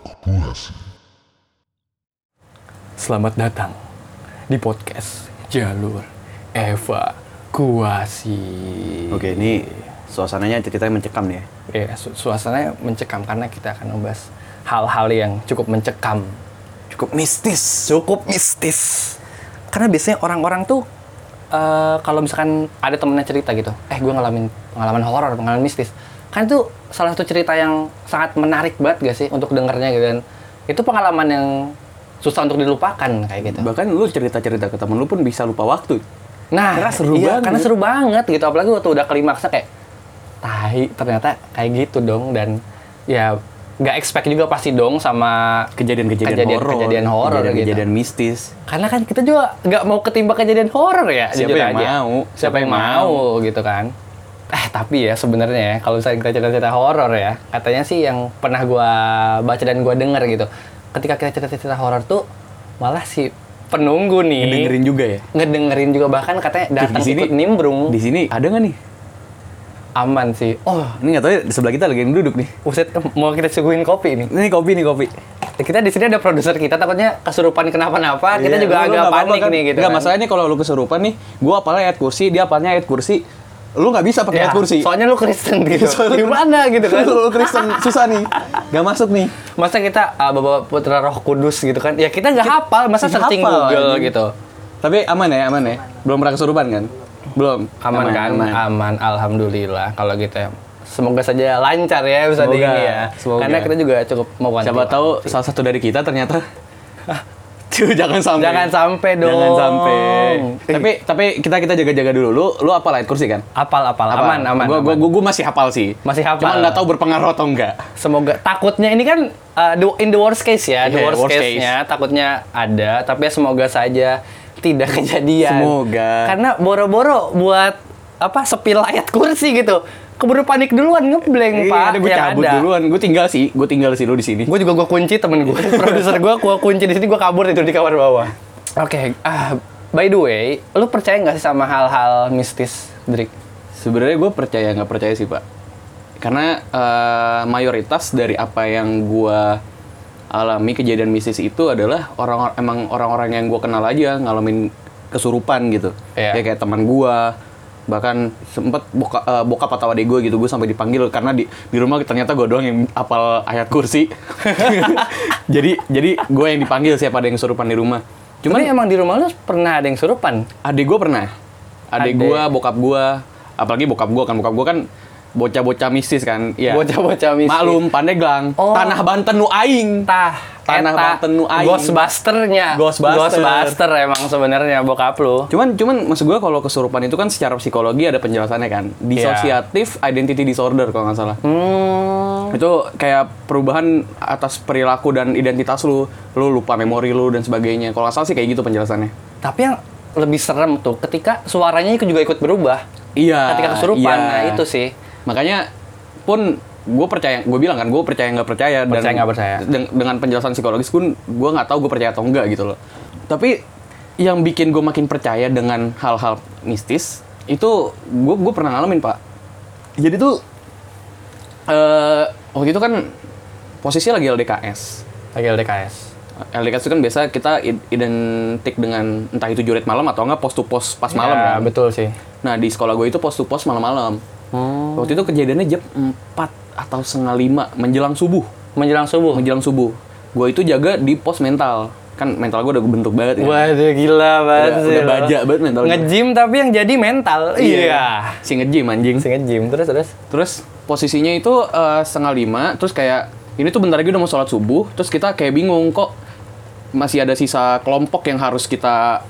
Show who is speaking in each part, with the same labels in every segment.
Speaker 1: Podcast.
Speaker 2: Selamat datang di podcast Jalur Evakuasi.
Speaker 3: Oke, ini suasananya ceritanya mencekam nih ya.
Speaker 2: Ya, su- suasananya mencekam karena kita akan membahas Kan, hal-hal yang cukup mencekam,
Speaker 3: Cukup mistis.
Speaker 2: cukup mistis. Karena biasanya orang-orang tuh eh, kalau misalkan ada temennya cerita gitu, eh gue ngalamin pengalaman horor, pengalaman mistis. Kan itu salah satu cerita yang sangat menarik banget gak sih untuk dengernya gitu kan. Itu pengalaman yang susah untuk dilupakan kayak gitu.
Speaker 3: Bahkan lu cerita-cerita ke temen lu pun bisa lupa waktu.
Speaker 2: Nah,
Speaker 3: Karena seru
Speaker 2: iya,
Speaker 3: banget.
Speaker 2: Karena seru banget gitu. Apalagi waktu udah klimaksnya kayak tahi ternyata kayak gitu dong dan ya nggak expect juga pasti dong sama
Speaker 3: Kejadian-kejadian
Speaker 2: Kejadian-
Speaker 3: horor.
Speaker 2: kejadian horor gitu.
Speaker 3: Kejadian mistis.
Speaker 2: karena kan kita juga nggak mau ketimpa kejadian horor ya
Speaker 3: Siapa
Speaker 2: jujur
Speaker 3: yang mau?
Speaker 2: siapa, yang mau gitu kan eh tapi ya sebenarnya ya kalau misalnya kita cerita-cerita horor ya katanya sih yang pernah gua baca dan gua denger gitu ketika kita cerita-cerita horor tuh malah si penunggu nih
Speaker 3: Dengerin juga ya.
Speaker 2: ngedengerin juga bahkan katanya datang
Speaker 3: di sini-
Speaker 2: ikut nimbrung
Speaker 3: Di sini ada nggak nih?
Speaker 2: aman sih oh
Speaker 3: Ini nggak tahu ya, di sebelah kita lagi yang duduk nih.
Speaker 2: Uset, mau kita suguhin kopi ini.
Speaker 3: Ini kopi nih kopi.
Speaker 2: Kita di sini ada produser kita, takutnya kesurupan kenapa-napa. Kita
Speaker 3: Iya,
Speaker 2: juga agak panik nih gitu.
Speaker 3: Enggak
Speaker 2: kan.
Speaker 3: masalahnya kalau lu kesurupan nih, gua apalnya ayat kursi, dia apalnya ayat kursi. Lu nggak bisa pakai
Speaker 2: Ya,
Speaker 3: ayat kursi.
Speaker 2: Soalnya lu Kristen gitu.
Speaker 3: Soalnya-
Speaker 2: Gimana gitu kan?
Speaker 3: lu Kristen susah nih. Nggak masuk nih.
Speaker 2: Masa kita ah, bawa putra Roh Kudus gitu kan? Ya kita nggak hafal, masa
Speaker 3: Nggak
Speaker 2: searching
Speaker 3: hafal,
Speaker 2: Google
Speaker 3: anjing.
Speaker 2: gitu.
Speaker 3: Tapi aman ya, aman ya. Belum pernah kesurupan kan? Belum.
Speaker 2: Aman, kan? Aman. alhamdulillah kalau gitu ya. Semoga saja lancar ya bisa di
Speaker 3: Semoga,
Speaker 2: ini ya.
Speaker 3: semoga.
Speaker 2: Karena kita juga cukup mewanti.
Speaker 3: Siapa tahu salah satu dari kita ternyata Cuy, jangan sampai.
Speaker 2: Jangan sampai dong. Eh.
Speaker 3: Jangan sampai. tapi tapi kita kita jaga-jaga dulu. Lu lu apa ayat kursi kan?
Speaker 2: apal-apal aman aman.
Speaker 3: Gua,
Speaker 2: aman.
Speaker 3: gua, gua, gua masih hafal sih.
Speaker 2: Masih hafal.
Speaker 3: Cuma nggak tahu berpengaruh atau enggak.
Speaker 2: Semoga takutnya ini kan uh, the- in the worst case ya, the
Speaker 3: Iya,
Speaker 2: worst,
Speaker 3: worst
Speaker 2: case-nya takutnya ada, tapi ya semoga saja tidak kejadian.
Speaker 3: Semoga.
Speaker 2: Karena boro-boro buat apa sepil ayat kursi gitu. Keburu panik duluan ngebleng,
Speaker 3: Iya,
Speaker 2: Pak.
Speaker 3: gue
Speaker 2: yang
Speaker 3: cabut duluan. Gue tinggal sih. Gue tinggal sih lu di sini.
Speaker 2: Gue juga gue kunci temen gue, produser gue gue kunci di sini gue kabur tidur di kamar bawah. Oke, ah, by the way, lu percaya nggak sih sama hal-hal mistis, Drik?
Speaker 3: Sebenarnya gue percaya nggak percaya sih pak, karena eh, mayoritas dari apa yang gue alami kejadian mistis itu adalah orang emang orang-orang yang gue kenal aja ngalamin kesurupan gitu,
Speaker 2: Iya.
Speaker 3: ya kayak teman gue bahkan sempet boka, eh, bokap atau adik gue gitu gue sampai dipanggil karena di di rumah ternyata gue doang yang apal ayat kursi jadi jadi gue yang dipanggil siapa ada yang kesurupan di rumah
Speaker 2: Cuman
Speaker 3: cuman
Speaker 2: emang di rumah lu pernah ada yang surupan?
Speaker 3: Adik gue pernah. Adik
Speaker 2: Adik.
Speaker 3: gue, bokap gue, apalagi bokap gue kan, bokap gue kan bocah-bocah mistis kan. Iya.
Speaker 2: Bocah-bocah mistis.
Speaker 3: Maklum, pandeglang.
Speaker 2: Oh.
Speaker 3: Tanah Banten nu aing.
Speaker 2: Tah,
Speaker 3: Tanah
Speaker 2: eta,
Speaker 3: Banten nu aing.
Speaker 2: Ghostbusternya.
Speaker 3: Ghostbuster.
Speaker 2: Ghostbuster emang sebenarnya bokap lu.
Speaker 3: Cuman, cuman maksud gue kalau kesurupan itu kan secara psikologi ada penjelasannya kan. Disosiatif
Speaker 2: Iya.
Speaker 3: identity disorder kalau nggak salah.
Speaker 2: Hmm.
Speaker 3: Itu kayak perubahan atas perilaku dan identitas lu. Lu lupa memori lu dan sebagainya. Kalau nggak salah sih kayak gitu penjelasannya.
Speaker 2: Tapi yang lebih serem tuh ketika suaranya juga ikut berubah.
Speaker 3: Iya.
Speaker 2: Ketika kesurupan,
Speaker 3: iya.
Speaker 2: nah itu sih.
Speaker 3: Makanya pun gue percaya, gue bilang kan gue percaya nggak percaya dan
Speaker 2: Percaya nggak percaya.
Speaker 3: deng- dengan penjelasan psikologis pun gue nggak tahu gue percaya atau enggak gitu loh. Tapi yang bikin gue makin percaya dengan hal-hal mistis itu gue gue pernah ngalamin pak. Jadi tuh eh waktu itu kan posisi lagi LDKS.
Speaker 2: Lagi LDKS.
Speaker 3: LDKS itu kan biasa kita id- identik dengan entah itu juret malam atau enggak pos to pos pas malam
Speaker 2: ya,
Speaker 3: kan.
Speaker 2: betul sih.
Speaker 3: Nah, di sekolah gue itu pos to pos malam-malam.
Speaker 2: Oh.
Speaker 3: Waktu itu kejadiannya jam 4 atau setengah 5 menjelang subuh.
Speaker 2: Menjelang subuh.
Speaker 3: Menjelang subuh. Gue itu jaga di pos mental. Kan mental gue udah bentuk banget ya.
Speaker 2: Waduh gila banget
Speaker 3: Udah-
Speaker 2: sih.
Speaker 3: udah
Speaker 2: lo.
Speaker 3: baja banget mental gue.
Speaker 2: Nge-gym tapi yang jadi mental.
Speaker 3: Iya.
Speaker 2: Iya.
Speaker 3: Si nge-gym anjing.
Speaker 2: ya? Sih nge-gym terus terus.
Speaker 3: Terus posisinya itu eh, setengah lima, terus kayak ini tuh bentar lagi udah mau sholat subuh, terus kita kayak bingung kok masih ada sisa kelompok yang harus kita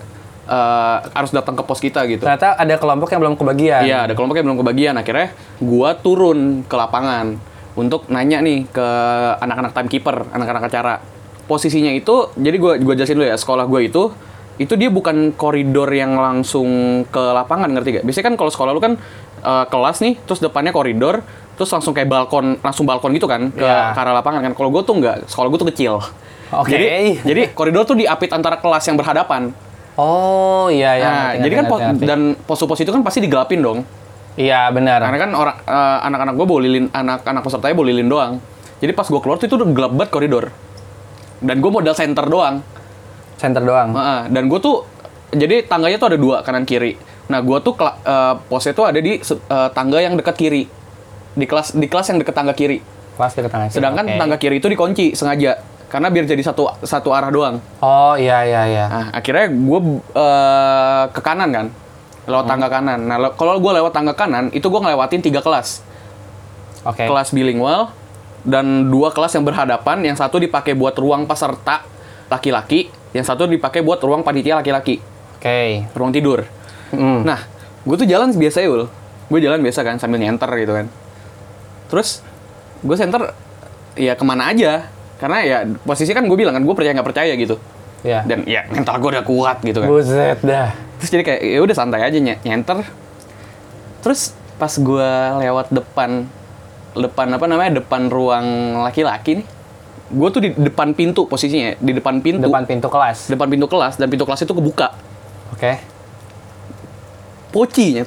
Speaker 3: eh, harus datang ke pos kita gitu.
Speaker 2: Ternyata ada kelompok yang belum kebagian.
Speaker 3: Iya, ada kelompok yang belum kebagian. Akhirnya gua turun ke lapangan untuk nanya nih ke anak-anak timekeeper, anak-anak acara. Posisinya itu, jadi gua gua jelasin dulu ya, sekolah gua itu itu dia bukan koridor yang langsung ke lapangan, ngerti gak? Biasanya kan kalau sekolah lu kan eh, kelas nih, terus depannya koridor, terus langsung kayak balkon, langsung balkon gitu kan ke,
Speaker 2: Iya.
Speaker 3: ke arah lapangan kan. Kalau gua tuh nggak, sekolah gua tuh kecil.
Speaker 2: Oke.
Speaker 3: Jadi, jadi koridor tuh diapit antara kelas yang berhadapan.
Speaker 2: Oh iya iya.
Speaker 3: nah, jadi
Speaker 2: ngerti, ngerti,
Speaker 3: kan pos-
Speaker 2: ngerti, ngerti.
Speaker 3: dan pos-pos itu kan pasti digelapin dong.
Speaker 2: Iya benar.
Speaker 3: Karena kan orang eh, anak-anak gue bolilin anak-anak pesertanya bolilin doang. Jadi pas gue keluar tuh itu udah gelap banget koridor. Dan gue modal center doang.
Speaker 2: Center doang.
Speaker 3: Heeh, dan gue tuh jadi tangganya tuh ada dua kanan kiri. Nah gue tuh kela- eh, posnya tuh ada di se- eh, tangga yang dekat kiri di kelas di kelas yang dekat tangga kiri.
Speaker 2: Pas deket tangga kiri.
Speaker 3: Sedangkan
Speaker 2: Oke.
Speaker 3: tangga kiri itu dikunci sengaja karena biar jadi satu satu arah doang.
Speaker 2: Oh iya iya iya.
Speaker 3: Nah akhirnya gue ke kanan kan lewat tangga kanan. Nah le- kalau gue lewat tangga kanan itu gue ngelewatin tiga kelas
Speaker 2: Oke.
Speaker 3: kelas bilingual dan dua kelas yang berhadapan yang satu dipakai buat ruang peserta laki-laki yang satu dipakai buat ruang panitia laki-laki
Speaker 2: Oke.
Speaker 3: ruang tidur.
Speaker 2: Mm.
Speaker 3: Nah, gue tuh jalan biasa ya, Ul. Gue jalan biasa kan, sambil nyenter gitu kan. Terus, gue senter ya kemana aja. Karena ya posisi kan gue bilang kan, gue percaya nggak percaya gitu.
Speaker 2: Iya.
Speaker 3: Dan ya mental gue udah kuat gitu kan.
Speaker 2: Buset dah.
Speaker 3: Terus jadi kayak, ya udah santai aja ny- nyenter. Terus pas gue lewat depan, depan apa namanya, depan ruang laki-laki nih. Gue tuh di depan pintu posisinya, di depan pintu.
Speaker 2: Depan pintu kelas.
Speaker 3: depan pintu kelas, dan pintu kelas itu kebuka.
Speaker 2: Oke.
Speaker 3: Pocinya,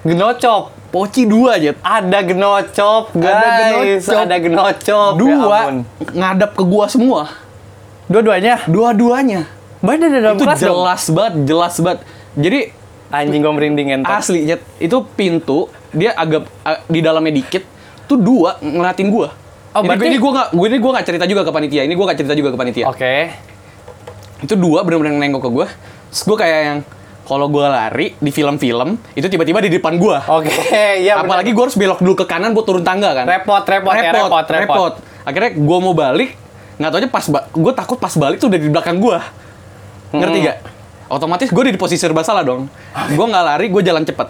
Speaker 2: Genocop.
Speaker 3: poci dua aja.
Speaker 2: Ada genocop, guys. Ada genocop.
Speaker 3: genocop. dua
Speaker 2: Ya ampun.
Speaker 3: ngadap ke gua semua
Speaker 2: Dua-duanya.
Speaker 3: dua-duanya
Speaker 2: Badan ada dalam
Speaker 3: itu
Speaker 2: kelas dong.
Speaker 3: jelas banget jelas banget jadi
Speaker 2: Anjing gue merinding entot.
Speaker 3: asli Jet, itu pintu dia agak a- di dalamnya dikit tuh dua ngeliatin gua
Speaker 2: Oh,
Speaker 3: ini,
Speaker 2: berarti-
Speaker 3: ini gua nggak gua ini gua nggak cerita juga ke panitia ini gua nggak cerita juga ke panitia
Speaker 2: Oke.
Speaker 3: itu dua bener-bener nengok ke gua terus gua kayak yang kalau gua lari di film-film itu tiba-tiba di depan gua
Speaker 2: Oke, ya bener.
Speaker 3: apalagi gua harus belok dulu ke kanan buat turun tangga kan
Speaker 2: repot, repot, ya,
Speaker 3: repot,
Speaker 2: repot, repot.
Speaker 3: repot. Akhirnya gue mau balik, nggak taunya pas gue takut pas balik tuh udah di belakang gue. Ngerti
Speaker 2: Mm-mm.
Speaker 3: gak? Otomatis gue di posisi serba salah dong. Gue nggak lari, gue jalan cepet.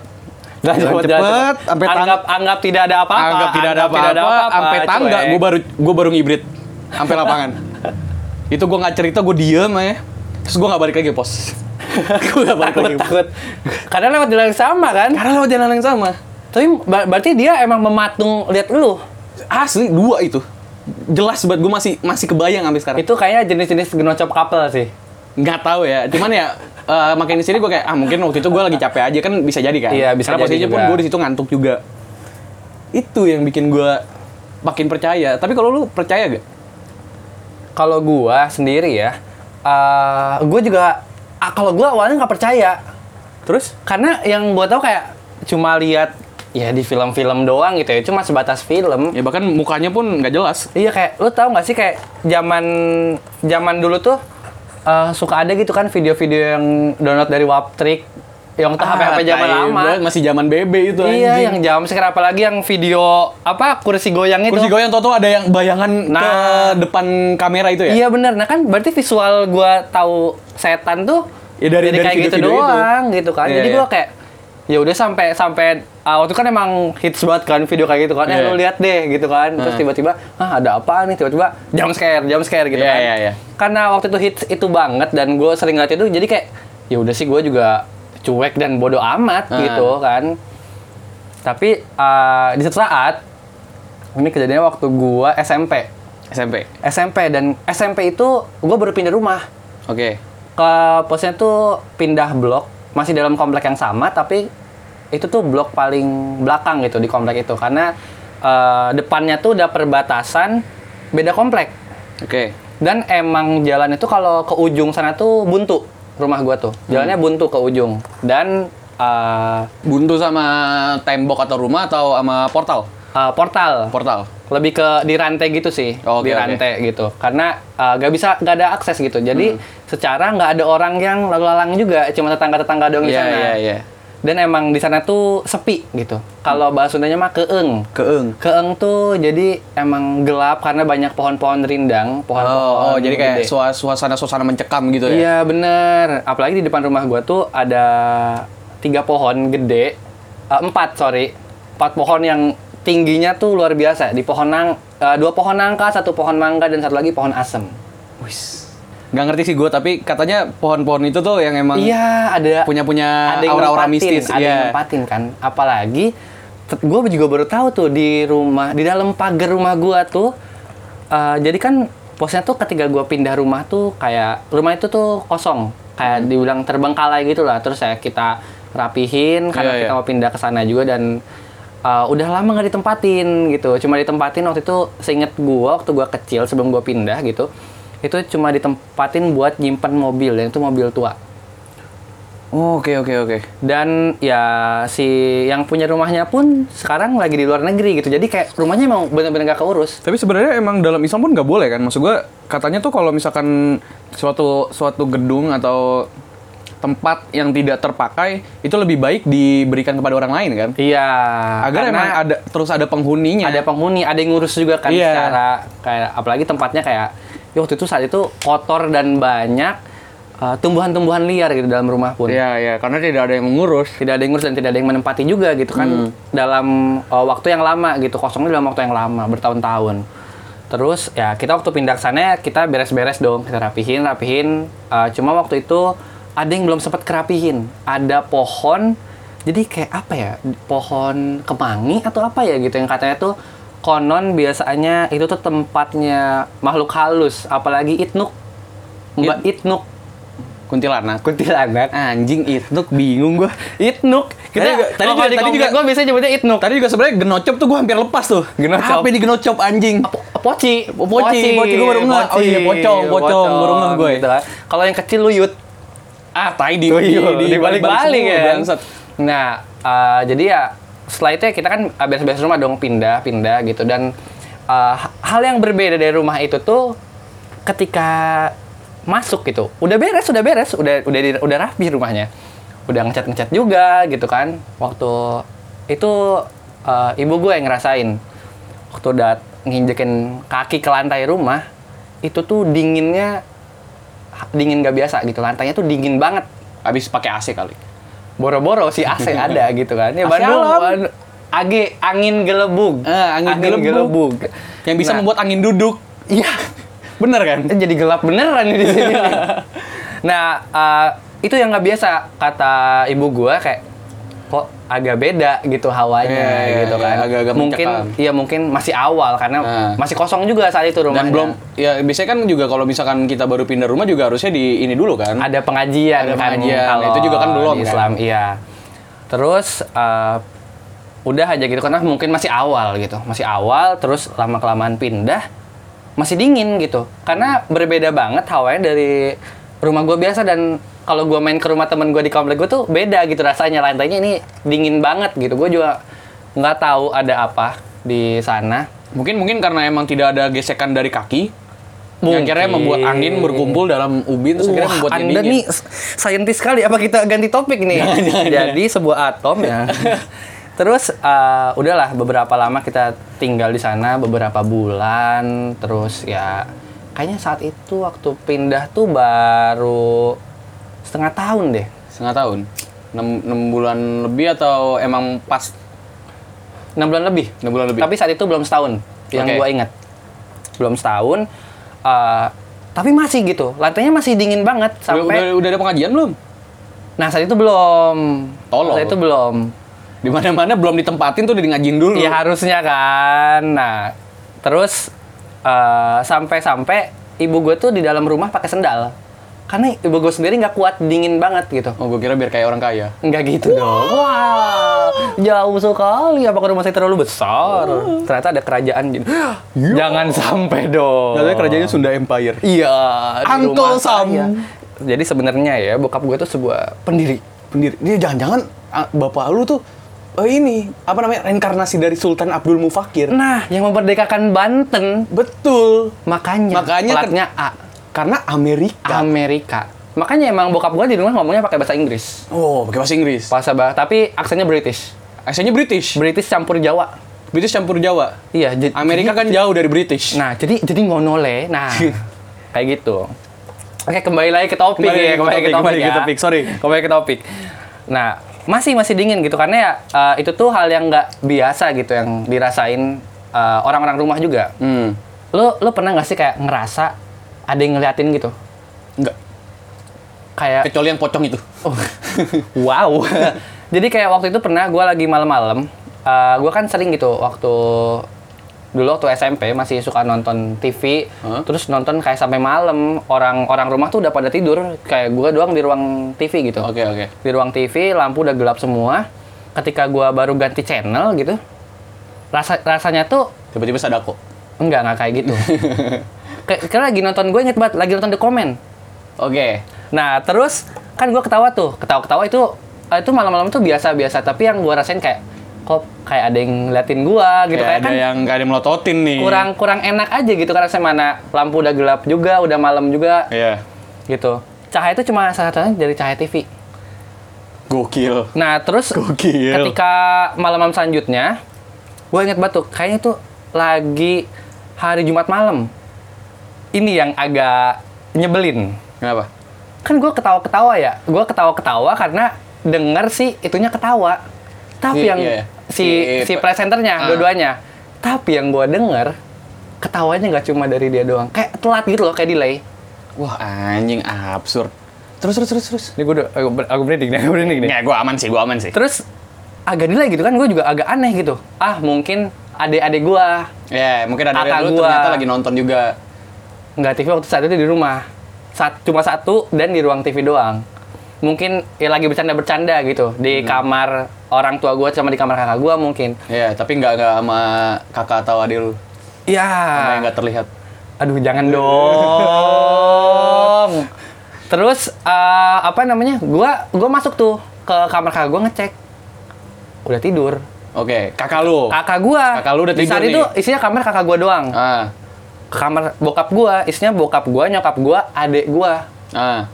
Speaker 2: Dan
Speaker 3: Jalan
Speaker 2: cepet, jalan
Speaker 3: cepet,
Speaker 2: cepet.
Speaker 3: sampai tang-
Speaker 2: anggap anggap tidak ada apa-apa.
Speaker 3: Anggap tidak ada apa-apa, sampai tangga
Speaker 2: cuek.
Speaker 3: gue baru gue baru ngibrit sampai lapangan. Itu gue nggak cerita, gue diem aja. Terus gue nggak balik lagi pos. gue nggak balik
Speaker 2: takut
Speaker 3: lagi. pos.
Speaker 2: takut. Karena lewat jalan yang sama kan.
Speaker 3: Karena lewat jalan yang sama.
Speaker 2: Tapi ba- berarti dia emang mematung lihat lu.
Speaker 3: Asli dua itu. Jelas banget gue masih masih kebayang sampai sekarang.
Speaker 2: Itu kayaknya jenis-jenis genocop couple sih.
Speaker 3: nggak tahu ya cuman ya eh, makin di sini gue kayak ah mungkin waktu itu gue lagi capek aja kan bisa jadi kan
Speaker 2: Iya, bisa
Speaker 3: karena
Speaker 2: jadi
Speaker 3: posisinya
Speaker 2: juga.
Speaker 3: pun gue di situ ngantuk juga itu yang bikin gue makin percaya tapi kalau lu percaya gak
Speaker 2: Kalau gua sendiri ya, eh gua juga ah, kalau gua awalnya nggak percaya
Speaker 3: terus
Speaker 2: karena yang gua tahu kayak cuma lihat ya di film-film doang gitu ya, cuma sebatas film.
Speaker 3: ya bahkan mukanya pun nggak jelas
Speaker 2: Iya kayak lu tahu nggak sih kayak zaman zaman dulu tuh eh, suka ada gitu kan video-video yang download dari Waptrick yang tuh
Speaker 3: Ah,
Speaker 2: HP-HP zaman
Speaker 3: tai
Speaker 2: lama.
Speaker 3: banget, masih zaman BB itu
Speaker 2: Iya,
Speaker 3: anjing.
Speaker 2: yang jam sekarang apalagi yang video apa kursi goyang itu.
Speaker 3: kursi goyang tau ada yang bayangan ke
Speaker 2: Nah.
Speaker 3: depan kamera itu ya
Speaker 2: Iya benar. Nah kan berarti visual gua tahu setan tuh
Speaker 3: Ya, dari- dari
Speaker 2: kayak gitu
Speaker 3: video-video itu.
Speaker 2: doang gitu kan.
Speaker 3: Iya,
Speaker 2: Jadi
Speaker 3: iya.
Speaker 2: gua kayak ya udah sampai sampai ah, waktu itu kan emang hits banget kan video kayak gitu kan. Eh
Speaker 3: Iya. Hmm.
Speaker 2: lu lihat deh gitu kan. Terus
Speaker 3: Heeh.
Speaker 2: tiba-tiba ah ada apa nih tiba-tiba jam scare, jam scare gitu
Speaker 3: Iya,
Speaker 2: kan.
Speaker 3: iya, iya.
Speaker 2: Karena waktu itu hits itu banget dan gua sering ngeliat itu jadi kayak ya udah sih gua juga cuek dan bodoh amat
Speaker 3: Heeh.
Speaker 2: gitu kan. Tapi ah, di satu saat ini kejadiannya waktu gua SMP.
Speaker 3: SMP
Speaker 2: SMP dan SMP itu gue baru pindah rumah
Speaker 3: oke
Speaker 2: ke posnya tuh pindah blok masih dalam komplek yang sama tapi itu tuh blok paling belakang gitu di komplek itu karena eh, depannya tuh udah perbatasan beda komplek
Speaker 3: oke
Speaker 2: dan emang jalan itu kalau ke ujung sana tuh buntu rumah gua tuh jalannya buntu ke ujung dan eh,
Speaker 3: buntu sama tembok atau rumah atau sama portal
Speaker 2: eh, portal
Speaker 3: portal
Speaker 2: lebih ke di rantai gitu sih
Speaker 3: Oh, Oke, oke.
Speaker 2: di
Speaker 3: Hmm.
Speaker 2: rantai gitu karena uh, nggak bisa nggak ada akses gitu jadi secara nggak ada orang yang lalu-lalang juga cuma tetangga-tetangga doang di
Speaker 3: Iya,
Speaker 2: sana
Speaker 3: iya, iya.
Speaker 2: dan emang di sana tuh sepi gitu kalau bahasa Sundanya mah
Speaker 3: Hmm.
Speaker 2: keeng
Speaker 3: keeng
Speaker 2: keeng tuh jadi emang gelap karena banyak pohon-pohon rindang pohon-pohon
Speaker 3: Oh, oh, jadi kayak
Speaker 2: gede.
Speaker 3: sua- suasana-suasana mencekam gitu ya?
Speaker 2: Iya bener. Apalagi di depan rumah gua tuh ada tiga pohon gede, Eh, empat sorry, empat pohon yang tingginya tuh luar biasa. Di pohon nang, eh, dua pohon nangka, satu pohon mangga dan satu lagi pohon asem.
Speaker 3: Wis. Nggak ngerti sih gue, tapi katanya pohon-pohon itu tuh yang emang
Speaker 2: Iya ada
Speaker 3: punya-punya
Speaker 2: ada yang
Speaker 3: aura-aura
Speaker 2: nempatin,
Speaker 3: mistis. Iya.
Speaker 2: ada yang nempatin kan. Apalagi gue juga baru tahu tuh di rumah di dalam pagar rumah gua tuh. eh, jadi kan posnya tuh ketika gua pindah rumah tuh kayak rumah itu tuh kosong
Speaker 3: Hmm.
Speaker 2: kayak dibilang terbengkalai gitu lah. Terus ya kita rapihin karena
Speaker 3: Iya,
Speaker 2: kita
Speaker 3: iya.
Speaker 2: mau pindah ke sana juga dan eh, udah lama nggak ditempatin gitu. Cuma ditempatin waktu itu seinget gua waktu gua kecil sebelum gua pindah gitu. itu cuma ditempatin buat nyimpen mobil yang itu mobil tua
Speaker 3: Oh, Oke oke oke.
Speaker 2: dan ya si yang punya rumahnya pun sekarang lagi di luar negeri gitu jadi kayak rumahnya emang bener-bener gak keurus
Speaker 3: Tapi sebenarnya emang dalam Islam pun nggak boleh kan? Maksud gua katanya tuh kalau misalkan suatu suatu gedung atau tempat yang tidak terpakai itu lebih baik diberikan kepada orang lain kan?
Speaker 2: iya
Speaker 3: Agar
Speaker 2: karena
Speaker 3: emang ada terus ada penghuninya.
Speaker 2: ada penghuni ada yang ngurus juga kan
Speaker 3: Iya.
Speaker 2: secara kayak apalagi tempatnya kayak ya waktu itu saat itu kotor dan banyak eh, tumbuhan-tumbuhan liar gitu dalam rumah pun
Speaker 3: Iya iya karena tidak ada yang mengurus.
Speaker 2: tidak ada yang ngurus dan tidak ada yang menempati juga gitu kan dalam uh, waktu yang lama gitu kosongnya dalam waktu yang lama bertahun-tahun terus ya kita waktu pindah ke sana kita beres-beres dong kita rapihin rapihin Uh, cuma waktu itu ada yang belum sempat kerapihin ada pohon jadi kayak apa ya pohon kemangi atau apa ya gitu yang katanya tuh konon biasanya itu tuh tempatnya makhluk halus apalagi itnuk mbak itnuk
Speaker 3: Kuntilanak. Ah.
Speaker 2: kuntilanak
Speaker 3: Anjing itu bingung gua.
Speaker 2: Itnuk. Kita
Speaker 3: Tadi juga- tadi juga- tadi juga-
Speaker 2: gue biasanya nyebutnya Itnuk.
Speaker 3: Tadi juga sebenarnya genocop tuh gua hampir lepas tuh.
Speaker 2: Genocop.
Speaker 3: Apa ini genocop anjing?
Speaker 2: Po- Poci,
Speaker 3: Oh, poci, poci, gua baru ngeh. Oh iya, pocong, pocong, baru ngeh ya. gue.
Speaker 2: Gitu kan. Kalau yang kecil luyut,
Speaker 3: Ah, tai di
Speaker 2: balik-balik
Speaker 3: semua,
Speaker 2: kan.
Speaker 3: bangsat.
Speaker 2: Nah, eh, jadi ya setelah itu ya kita kan eh, beres-beres rumah dong pindah-pindah gitu dan eh, hal yang berbeda dari rumah itu tuh ketika masuk gitu. Udah beres, udah beres, udah udah di- udah rapi rumahnya. Udah ngecat-ngecat juga gitu kan. Waktu itu eh, ibu gue yang ngerasain waktu udah nginjekin kaki ke lantai rumah itu tuh dinginnya dingin gak biasa gitu lantainya tuh dingin banget
Speaker 3: Habis pakai AC kali.
Speaker 2: boro-boro si AC ada gitu kan. Ya
Speaker 3: AC
Speaker 2: Bandung,
Speaker 3: alam.
Speaker 2: Bandung AG angin gelebug.
Speaker 3: Eh, angin gelebug. Yang bisa
Speaker 2: Nah,
Speaker 3: membuat angin duduk.
Speaker 2: iya
Speaker 3: Bener kan?
Speaker 2: Eh, jadi gelap beneran nih di sini. nih. nah, eh, itu yang nggak biasa kata ibu gua kayak kok agak beda gitu hawanya
Speaker 3: Iya, iya,
Speaker 2: gitu
Speaker 3: iya,
Speaker 2: kan.
Speaker 3: agak-agak
Speaker 2: mungkin
Speaker 3: mencekam.
Speaker 2: iya mungkin masih awal karena
Speaker 3: Nah.
Speaker 2: masih kosong juga saat itu rumahnya.
Speaker 3: Dan belum ya biasanya kan juga kalau misalkan kita baru pindah rumah juga harusnya di ini dulu kan.
Speaker 2: ada
Speaker 3: Ada
Speaker 2: pengajian kan
Speaker 3: pengajian.
Speaker 2: kalau
Speaker 3: Itu juga kan belum,
Speaker 2: di
Speaker 3: kan?
Speaker 2: Islam iya terus eh, udah aja gitu karena mungkin masih awal gitu masih awal terus lama kelamaan pindah masih dingin gitu karena berbeda banget hawanya dari rumah gua biasa dan kalau gua main ke rumah temen gua di komplek gua tuh beda gitu rasanya lantainya ini dingin banget gitu gue juga nggak tahu ada apa di sana
Speaker 3: Mungkin mungkin karena emang tidak ada gesekan dari kaki. Yang
Speaker 2: Mungkin.
Speaker 3: akhirnya membuat angin berkumpul dalam ubin terus akhirnya
Speaker 2: Wah,
Speaker 3: membuat gitu.
Speaker 2: Anda
Speaker 3: dingin.
Speaker 2: nih s- saintis sekali. Apa kita ganti topik nih? Jadi sebuah atom ya. terus eh, udahlah beberapa lama kita tinggal di sana beberapa bulan. Terus ya kayaknya saat itu waktu pindah tuh baru setengah tahun deh.
Speaker 3: setengah tahun. 6, bulan lebih atau emang pas
Speaker 2: 6 bulan lebih.
Speaker 3: 6 bulan lebih.
Speaker 2: Tapi saat itu belum setahun yang
Speaker 3: Oke.
Speaker 2: gua ingat. Belum setahun. eh, tapi masih gitu. Lantainya masih dingin banget
Speaker 3: Udah-
Speaker 2: sampai
Speaker 3: udah, udah ada pengajian belum?
Speaker 2: Nah saat itu belum.
Speaker 3: Tolol.
Speaker 2: Saat itu belum.
Speaker 3: Di mana-mana belum ditempatin tuh udah di ngajin dulu.
Speaker 2: Ya harusnya kan. Nah terus eh, sampai-sampai ibu gue tuh di dalam rumah pakai sendal. Karena ibu gue sendiri nggak kuat dingin banget gitu.
Speaker 3: Oh, gue kira biar kayak orang kaya.
Speaker 2: Nggak gitu dong. Wah, jauh sekali. Apakah rumah saya terlalu besar? Ternyata ada kerajaan. gitu. Jangan sampai dong.
Speaker 3: Katanya kerajaannya Sunda Empire.
Speaker 2: Iya. di
Speaker 3: Uncle
Speaker 2: rumah
Speaker 3: Sam.
Speaker 2: saya. Jadi sebenarnya ya bokap gue tuh sebuah pendiri.
Speaker 3: pendiri. Dia jangan-jangan ah, bapak lu tuh eh, ini apa namanya reinkarnasi dari Sultan Abdul Mufakir.
Speaker 2: Nah, yang memerdekakan Banten
Speaker 3: Betul.
Speaker 2: Makanya,
Speaker 3: Makanya ter-
Speaker 2: platnya A,
Speaker 3: Karena Amerika.
Speaker 2: Amerika. Makanya emang bokap gua di rumah ngomongnya pakai bahasa Inggris.
Speaker 3: oh, pakai bahasa Inggris.
Speaker 2: Bahasa bah, tapi aksennya British.
Speaker 3: Asalnya British.
Speaker 2: British campur Jawa.
Speaker 3: British campur Jawa.
Speaker 2: Iya, jadi-
Speaker 3: Amerika kan jauh dari British.
Speaker 2: Nah, jadi jadi ngonole. Nah, kayak gitu. Oke, kembali lagi ke topik
Speaker 3: Kembali ke
Speaker 2: ya, kembali ke
Speaker 3: topik,
Speaker 2: topik,
Speaker 3: kembali
Speaker 2: ya.
Speaker 3: ke topik, sorry.
Speaker 2: Kembali ke topik. Nah, masih masih dingin gitu karena ya eh, itu tuh hal yang nggak biasa gitu yang dirasain eh, orang-orang rumah juga.
Speaker 3: Hmm.
Speaker 2: Lo lo pernah nggak sih kayak ngerasa ada yang ngeliatin gitu?
Speaker 3: Enggak.
Speaker 2: Kayak
Speaker 3: Kecuali yang pocong itu.
Speaker 2: Oh. wow. Jadi kayak waktu itu pernah gue lagi malam-malam, eh gue kan sering gitu waktu dulu waktu SMP masih suka nonton TV,
Speaker 3: Hah?
Speaker 2: terus nonton kayak sampai malam orang-orang rumah tuh udah pada tidur, kayak gue doang di ruang TV gitu.
Speaker 3: Oke, oke.
Speaker 2: Di ruang TV lampu udah gelap semua. Ketika gue baru ganti channel gitu, rasa rasanya tuh
Speaker 3: Tiba-tiba sadako.
Speaker 2: enggak nggak kayak gitu. Kayak kayak lagi nonton gue inget banget, lagi nonton The Comment.
Speaker 3: Oke.
Speaker 2: Nah, terus kan gue ketawa tuh. Ketawa-ketawa itu eh, itu malam-malam tuh biasa-biasa, tapi yang gue rasain kayak kok kayak ada yang ngeliatin gue gitu
Speaker 3: Kayak Ya,
Speaker 2: kayak
Speaker 3: ada
Speaker 2: kan
Speaker 3: yang kayak ada yang melototin nih.
Speaker 2: kurang kurang enak aja gitu karena saya mana lampu udah gelap juga, udah malam juga
Speaker 3: Iya.
Speaker 2: gitu. Cahaya itu cuma salah satunya dari cahaya TV.
Speaker 3: Gokil.
Speaker 2: Nah, terus
Speaker 3: Gokil.
Speaker 2: ketika malam-malam selanjutnya, gue inget batuk. Kayaknya itu lagi hari Jumat malam. Ini yang agak nyebelin.
Speaker 3: Kenapa?
Speaker 2: Kan gue ketawa-ketawa ya. Gue ketawa-ketawa karena denger si itunya ketawa. Tapi
Speaker 3: Si-
Speaker 2: yang
Speaker 3: iya.
Speaker 2: si
Speaker 3: Si-
Speaker 2: si presenternya
Speaker 3: Ah.
Speaker 2: dua-duanya. Tapi yang gue denger ketawanya nggak cuma dari dia doang. Kayak telat gitu loh, kayak delay.
Speaker 3: Wah, anjing absurd. Terus terus terus terus.
Speaker 2: Ini gue udah, aku, aku merinding nih, aku merinding nih.
Speaker 3: Ya, gua aman sih, gua aman sih.
Speaker 2: terus agak delay gitu kan gue juga agak aneh gitu ah mungkin adik-adik gue
Speaker 3: Ya, mungkin ada yang
Speaker 2: Kata
Speaker 3: lu
Speaker 2: gua.
Speaker 3: ternyata lagi nonton juga.
Speaker 2: nggak TV waktu saat itu di rumah Sat- cuma satu dan di ruang TV doang mungkin ya lagi bercanda-bercanda gitu di
Speaker 3: Hmm.
Speaker 2: kamar orang tua gue sama di kamar kakak gue mungkin
Speaker 3: Ya, tapi nggak nggak sama kakak atau adik lu.
Speaker 2: ya
Speaker 3: Sama yang nggak terlihat.
Speaker 2: aduh jangan dong terus eh, apa namanya gue gua masuk tuh ke kamar kakak gue ngecek udah tidur
Speaker 3: Oke, kakak lu.
Speaker 2: kakak gue
Speaker 3: Oh. Kakak lu udah
Speaker 2: di saat
Speaker 3: tidur
Speaker 2: itu isinya kamar kakak gue doang
Speaker 3: Ah.
Speaker 2: ke kamar bokap gua, isinya bokap gua, nyokap gua, adik gua,
Speaker 3: Ah.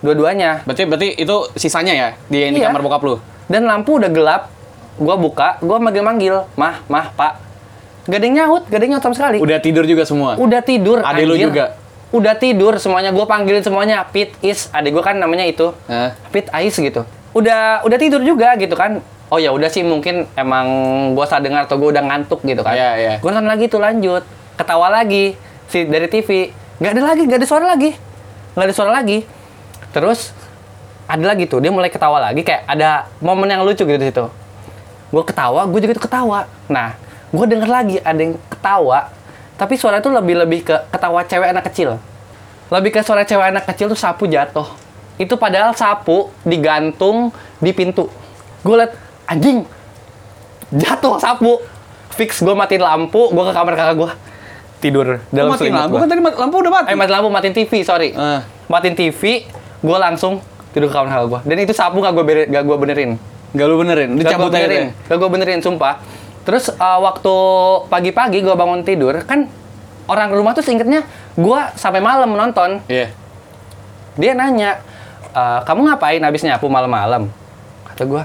Speaker 2: dua-duanya.
Speaker 3: Berarti berarti itu sisanya ya di yang di
Speaker 2: Iya.
Speaker 3: kamar bokap lu.
Speaker 2: Dan lampu udah gelap, gua buka, gua manggil-manggil, mah, mah, pak. Gak ada yang nyaut, gak ada yang nyaut sama sekali. Udah,
Speaker 3: Udah tidur juga semua.
Speaker 2: tidur,
Speaker 3: Adik lu
Speaker 2: anjir.
Speaker 3: juga?
Speaker 2: Udah tidur semuanya, gua panggilin semuanya, Pit, Is, adik gua kan namanya itu.
Speaker 3: Ah.
Speaker 2: Pit, Ais gitu. Udah udah tidur juga gitu kan. Oh ya udah sih mungkin emang gua salah dengar atau gua udah ngantuk gitu kan.
Speaker 3: Iya, iya.
Speaker 2: Gua nonton lagi tuh lanjut, ketawa lagi si dari TV. Gak ada lagi, gak ada suara lagi. Gak ada suara lagi. Terus ada lagi tuh, dia mulai ketawa lagi kayak ada momen yang lucu gitu di situ. Gue ketawa, gue juga tuh ketawa. Nah, gue denger lagi ada yang ketawa, tapi suara itu lebih-lebih ke ketawa cewek anak kecil. Lebih ke suara cewek anak kecil tuh sapu jatuh. Itu padahal sapu digantung di pintu. Gue liat, anjing, jatuh sapu. Fix gue matiin lampu, gue ke kamar kakak gue. Tidur
Speaker 3: Lu
Speaker 2: dalam
Speaker 3: matiin
Speaker 2: selimut
Speaker 3: lampu
Speaker 2: gua.
Speaker 3: kan tadi mat- lampu udah mati.
Speaker 2: Eh matiin lampu, matiin TV, sorry.
Speaker 3: Ah.
Speaker 2: Matiin TV, gue langsung tidur ke kamar kakak gue. Dan itu sapu gak gue gak gua benerin.
Speaker 3: Gak lu benerin, lu
Speaker 2: Gak gue
Speaker 3: cabut aja
Speaker 2: benerin,
Speaker 3: deh.
Speaker 2: gak gue benerin, sumpah. Terus eh, waktu pagi-pagi gue bangun tidur, kan orang rumah tuh seingetnya gue sampai malam nonton.
Speaker 3: Iya.
Speaker 2: Dia nanya, "Eh, kamu ngapain habis nyapu malam-malam? Kata gue,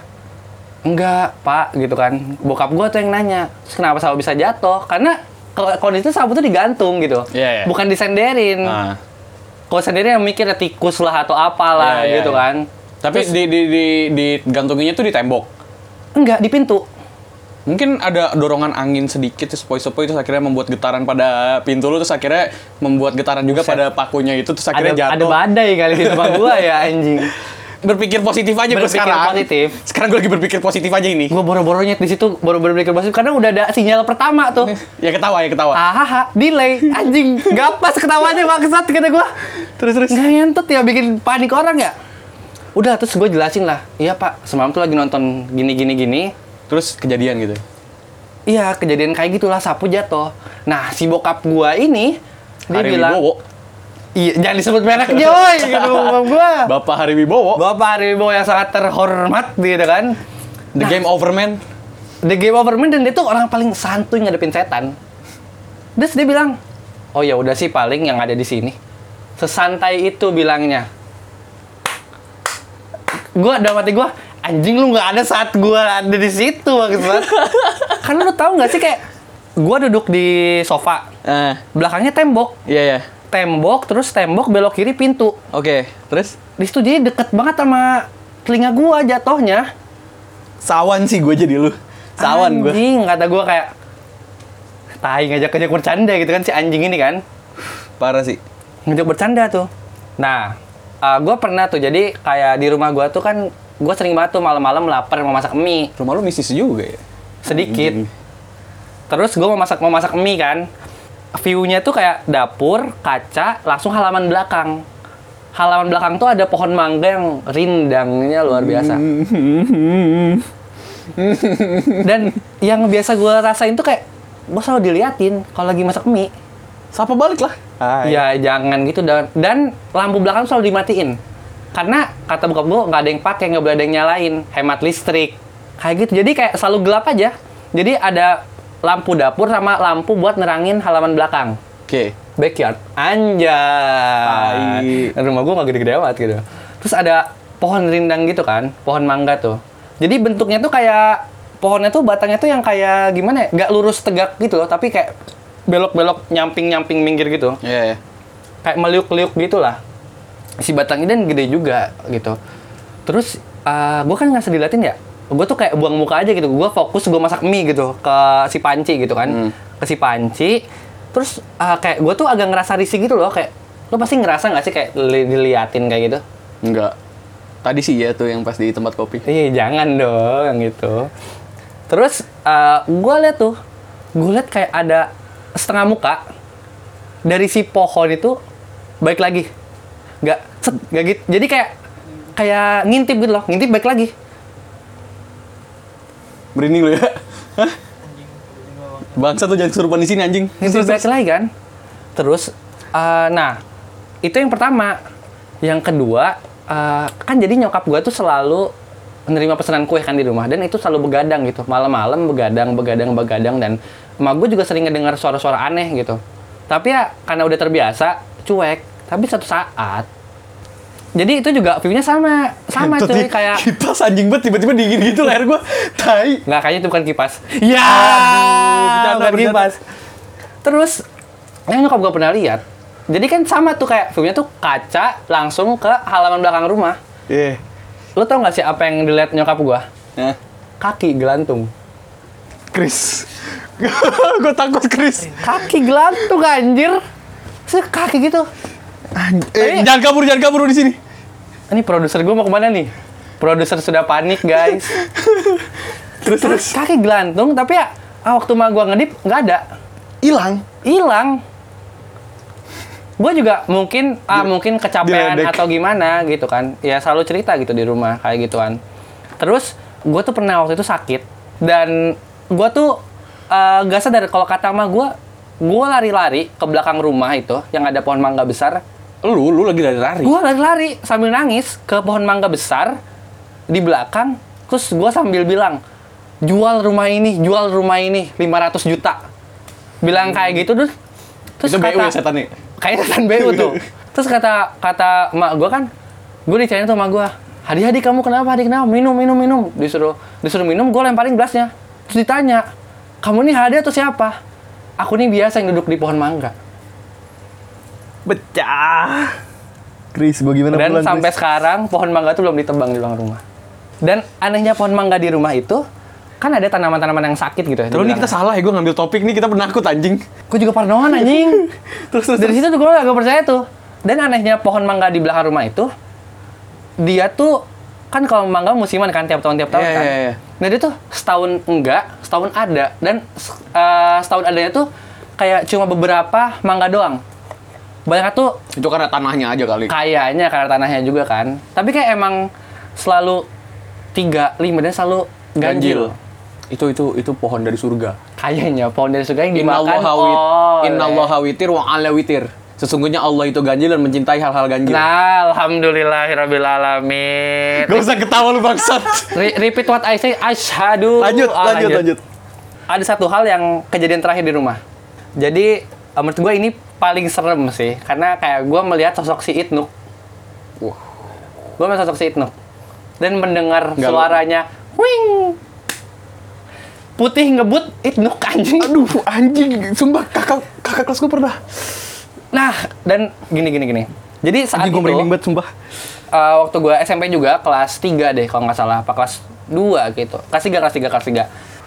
Speaker 2: enggak pak gitu kan. Bokap gue tuh yang nanya, "Terus kenapa sapu bisa jatuh? Karena kalau kondisinya sapu tuh digantung gitu,
Speaker 3: Iya, iya.
Speaker 2: bukan disenderin
Speaker 3: Ah.
Speaker 2: kalau sendiri yang mikir ya tikus lah atau
Speaker 3: Iya,
Speaker 2: apalah
Speaker 3: iya,
Speaker 2: gitu
Speaker 3: iya.
Speaker 2: kan.
Speaker 3: Tapi
Speaker 2: Terus,
Speaker 3: di di di digantunginnya tuh di tembok.
Speaker 2: enggak di pintu.
Speaker 3: Mungkin ada dorongan angin sedikit terus sepoi-sepoi terus akhirnya membuat getaran pada pintu lu terus akhirnya membuat getaran juga
Speaker 2: Buset.
Speaker 3: pada pakunya itu terus akhirnya
Speaker 2: ada, ada
Speaker 3: jatuh.
Speaker 2: badai kali di rumah gua ya anjing.
Speaker 3: berpikir positif aja gue
Speaker 2: Berpikir
Speaker 3: sekarang.
Speaker 2: positif.
Speaker 3: Sekarang gue lagi berpikir positif aja ini.
Speaker 2: Gua boro-boronya di situ boro-boro beli kerbau karena udah ada sinyal pertama tuh.
Speaker 3: Ya ketawa ya
Speaker 2: Ah.
Speaker 3: ketawa.
Speaker 2: Hahaha, delay anjing. Gak pas ketawanya maksud kata gua. Terus terus nggak ngentut ya bikin panik orang ya. Udah terus gue jelasin lah. Iya pak, semalam tuh lagi nonton gini gini gini.
Speaker 3: Terus kejadian gitu.
Speaker 2: Iya kejadian kayak gitulah sapu jatuh. Nah si bokap gua ini dia
Speaker 3: Hari
Speaker 2: bilang
Speaker 3: Wibowo.
Speaker 2: Iya, jangan disebut merek Joy, gitu bokap gua.
Speaker 3: Bapak Hari Wibowo.
Speaker 2: Bapak Ari Wibowo yang sangat terhormat gitu kan.
Speaker 3: The game over man.
Speaker 2: The Game Over Man dan dia tuh orang paling santuy ngadepin setan. Terus dia bilang, "Oh ya udah sih paling yang ada di sini." Sesantai itu bilangnya. Gua dalam hati gua, anjing lu nggak ada saat gua ada di situ maksud. Karena lu tahu nggak sih kayak gua duduk di sofa,
Speaker 3: Eh,
Speaker 2: belakangnya tembok,
Speaker 3: iya ya.
Speaker 2: tembok terus tembok belok kiri pintu.
Speaker 3: Oke, terus
Speaker 2: di situ jadi deket banget sama telinga gua jatuhnya
Speaker 3: sawan sih gue jadi lu. Sawan gue.
Speaker 2: anjing kata gua kayak tai ngajak ngajak bercanda gitu kan si anjing ini kan
Speaker 3: Parah sih.
Speaker 2: ngajak bercanda tuh nah eh, gua pernah tuh jadi kayak di rumah gua tuh kan gua sering banget tuh malam-malam lapar mau masak mie
Speaker 3: Rumah lu mistis juga ya.
Speaker 2: sedikit
Speaker 3: Anjing.
Speaker 2: terus gua mau masak mau masak mie kan view-nya tuh kayak dapur kaca langsung halaman belakang halaman belakang tuh ada pohon mangga yang rindangnya luar biasa dan yang biasa gue rasain tuh kayak gue selalu diliatin kalau lagi masak mie
Speaker 3: Sapa balik lah.
Speaker 1: Hai.
Speaker 2: Ya jangan gitu dan dan lampu belakang selalu dimatiin. Karena kata buka bu nggak ada yang pakai, nggak boleh ada yang nyalain, hemat listrik. Kayak gitu. Jadi kayak selalu gelap aja. Jadi ada lampu dapur sama lampu buat nerangin halaman belakang.
Speaker 3: Oke.
Speaker 2: Backyard. Anjay.
Speaker 3: Tai.
Speaker 2: Rumah gua nggak gede-gede amat gitu. Terus ada pohon rindang gitu kan, pohon mangga tuh. Jadi bentuknya tuh kayak pohonnya tuh batangnya tuh yang kayak gimana ya? Nggak lurus tegak gitu loh, tapi kayak belok-belok nyamping-nyamping minggir gitu
Speaker 3: Iya. iya.
Speaker 2: kayak meliuk-liuk gitulah si batangnya dan gede juga gitu terus gue kan nggak sedih dilatih ya gue tuh kayak buang muka aja gitu gue fokus gue masak mie gitu ke si panci gitu kan ke si panci terus ah, kayak gue tuh agak ngerasa risih gitu loh kayak lo pasti ngerasa nggak sih kayak li- diliatin kayak gitu
Speaker 3: Enggak. Tadi sih ya tuh yang pas di tempat kopi.
Speaker 2: Iya jangan dong gitu. Terus gue liat tuh, gue liat kayak ada setengah muka dari si pohon itu balik lagi, nggak set nggak gitu. Jadi kayak kayak ngintip gitu loh, ngintip balik lagi.
Speaker 3: Merinding lu ya. Hah? Bangsa tuh jangan kesurupan di sini anjing.
Speaker 2: Ngintip balik lagi kan. Terus, eh, nah itu yang pertama. Yang kedua, eh, kan jadi nyokap gue tuh selalu menerima pesanan kue kan di rumah dan itu selalu begadang gitu malam-malam begadang begadang begadang dan emak gue juga sering ngedengar suara-suara aneh gitu tapi ya karena udah terbiasa cuek tapi satu saat jadi itu juga view-nya sama sama
Speaker 3: Kentut nih.
Speaker 2: cuy kayak
Speaker 3: kipas anjing banget tiba-tiba dingin gitu leher gua. Tai.
Speaker 2: Nggak, kayaknya itu bukan kipas. Ya,
Speaker 3: Aduh, bercanda,
Speaker 2: bukan
Speaker 3: bercanda.
Speaker 2: kipas. Terus, yang nyokap gue pernah lihat. Jadi kan sama tuh kayak filmnya tuh kaca langsung ke halaman belakang rumah.
Speaker 3: Iya.
Speaker 2: Lo tau nggak sih apa yang dilihat nyokap gua?
Speaker 3: Nah,
Speaker 2: Kaki gelantung.
Speaker 3: Chris. gua takut Chris.
Speaker 2: Kaki gelantung anjir. Terus kaki gitu.
Speaker 3: Eh, jangan kabur, jangan kabur lu di sini.
Speaker 2: Ini produser gue mau kemana nih? Produser sudah panik guys.
Speaker 3: Terus terus
Speaker 2: Terus kaki gelantung tapi ya ah, waktu mah gua ngedip nggak ada.
Speaker 3: hilang.
Speaker 2: hilang gue juga mungkin ah mungkin kecapean
Speaker 3: diledek.
Speaker 2: atau gimana gitu kan ya selalu cerita gitu di rumah kayak gituan terus gue tuh pernah waktu itu sakit dan gue tuh eh, gak sadar kalau kata mah gue gue lari-lari ke belakang rumah itu yang ada pohon mangga besar
Speaker 3: Lu lu lagi lari lari.
Speaker 2: gue lari-lari sambil nangis ke pohon mangga besar di belakang terus gue sambil bilang jual rumah ini jual rumah ini 500 juta bilang kayak gitu terus terus
Speaker 3: Hmm. Itu BU ya
Speaker 2: kata
Speaker 3: setan nih.
Speaker 2: kayaknya setan BU tuh terus kata kata emak gue kan gue dicariin tuh emak gue Hadi Hadi kamu kenapa Hadi kenapa minum minum minum disuruh disuruh minum gue lemparin gelasnya terus ditanya kamu ini Hadi atau siapa aku nih biasa yang duduk di pohon mangga
Speaker 3: Pecah. Chris, bagaimana
Speaker 2: Dan sampai sekarang pohon mangga itu belum ditebang di belakang rumah. Dan anehnya pohon mangga di rumah itu kan ada tanaman-tanaman yang sakit gitu ya.
Speaker 3: Terus nih kita salah ya, gue ngambil topik nih, kita penakut anjing.
Speaker 2: Gue juga parnoan anjing.
Speaker 3: Terus, terus,
Speaker 2: Dari situ tuh gue agak percaya tuh. Dan anehnya pohon mangga di belakang rumah itu dia tuh kan kalau mangga musiman kan tiap tahun tiap tahun
Speaker 3: Iya,
Speaker 2: kan.
Speaker 3: iya, iya.
Speaker 2: Nah dia tuh setahun enggak, setahun ada dan se- eh, setahun adanya tuh kayak cuma beberapa mangga doang. Banyak tuh
Speaker 3: Itu karena tanahnya aja kali.
Speaker 2: kayaknya karena tanahnya juga kan tapi kayak emang selalu tiga lima dan selalu ganjil,
Speaker 3: Itu itu itu pohon dari surga.
Speaker 2: kayaknya pohon dari surga yang
Speaker 3: Inna
Speaker 2: dimakan
Speaker 3: Allah wit,
Speaker 2: oleh-
Speaker 3: Inna Allah witir wa ala witir. Sesungguhnya Allah itu ganjil dan mencintai hal-hal ganjil.
Speaker 2: nah alhamdulillahirabbil alamin
Speaker 3: Gak usah ketawa lu bangsat.
Speaker 2: Re- repeat what I say asyhadu
Speaker 3: lanjut,
Speaker 2: ah,
Speaker 3: lanjut, lanjut.
Speaker 2: ada satu hal yang kejadian terakhir di rumah. Jadi eh, menurut gue ini paling serem sih, karena kayak gue melihat sosok si Itnuk.
Speaker 3: Wah.
Speaker 2: Gue melihat sosok si Itnuk dan mendengar
Speaker 3: Nggak,
Speaker 2: suaranya, wing. Putih ngebut Itnuk anjing.
Speaker 3: Aduh, anjing, sumpah kakak kakak kelas gue pernah.
Speaker 2: Nah dan gini gini gini. Jadi saat
Speaker 3: Anjing gue
Speaker 2: itu,
Speaker 3: merinding banget sumpah.
Speaker 2: eh, waktu gue SMP juga kelas 3 deh kalau nggak salah, apa kelas 2 gitu. Kelas 3, kelas 3, kelas 3.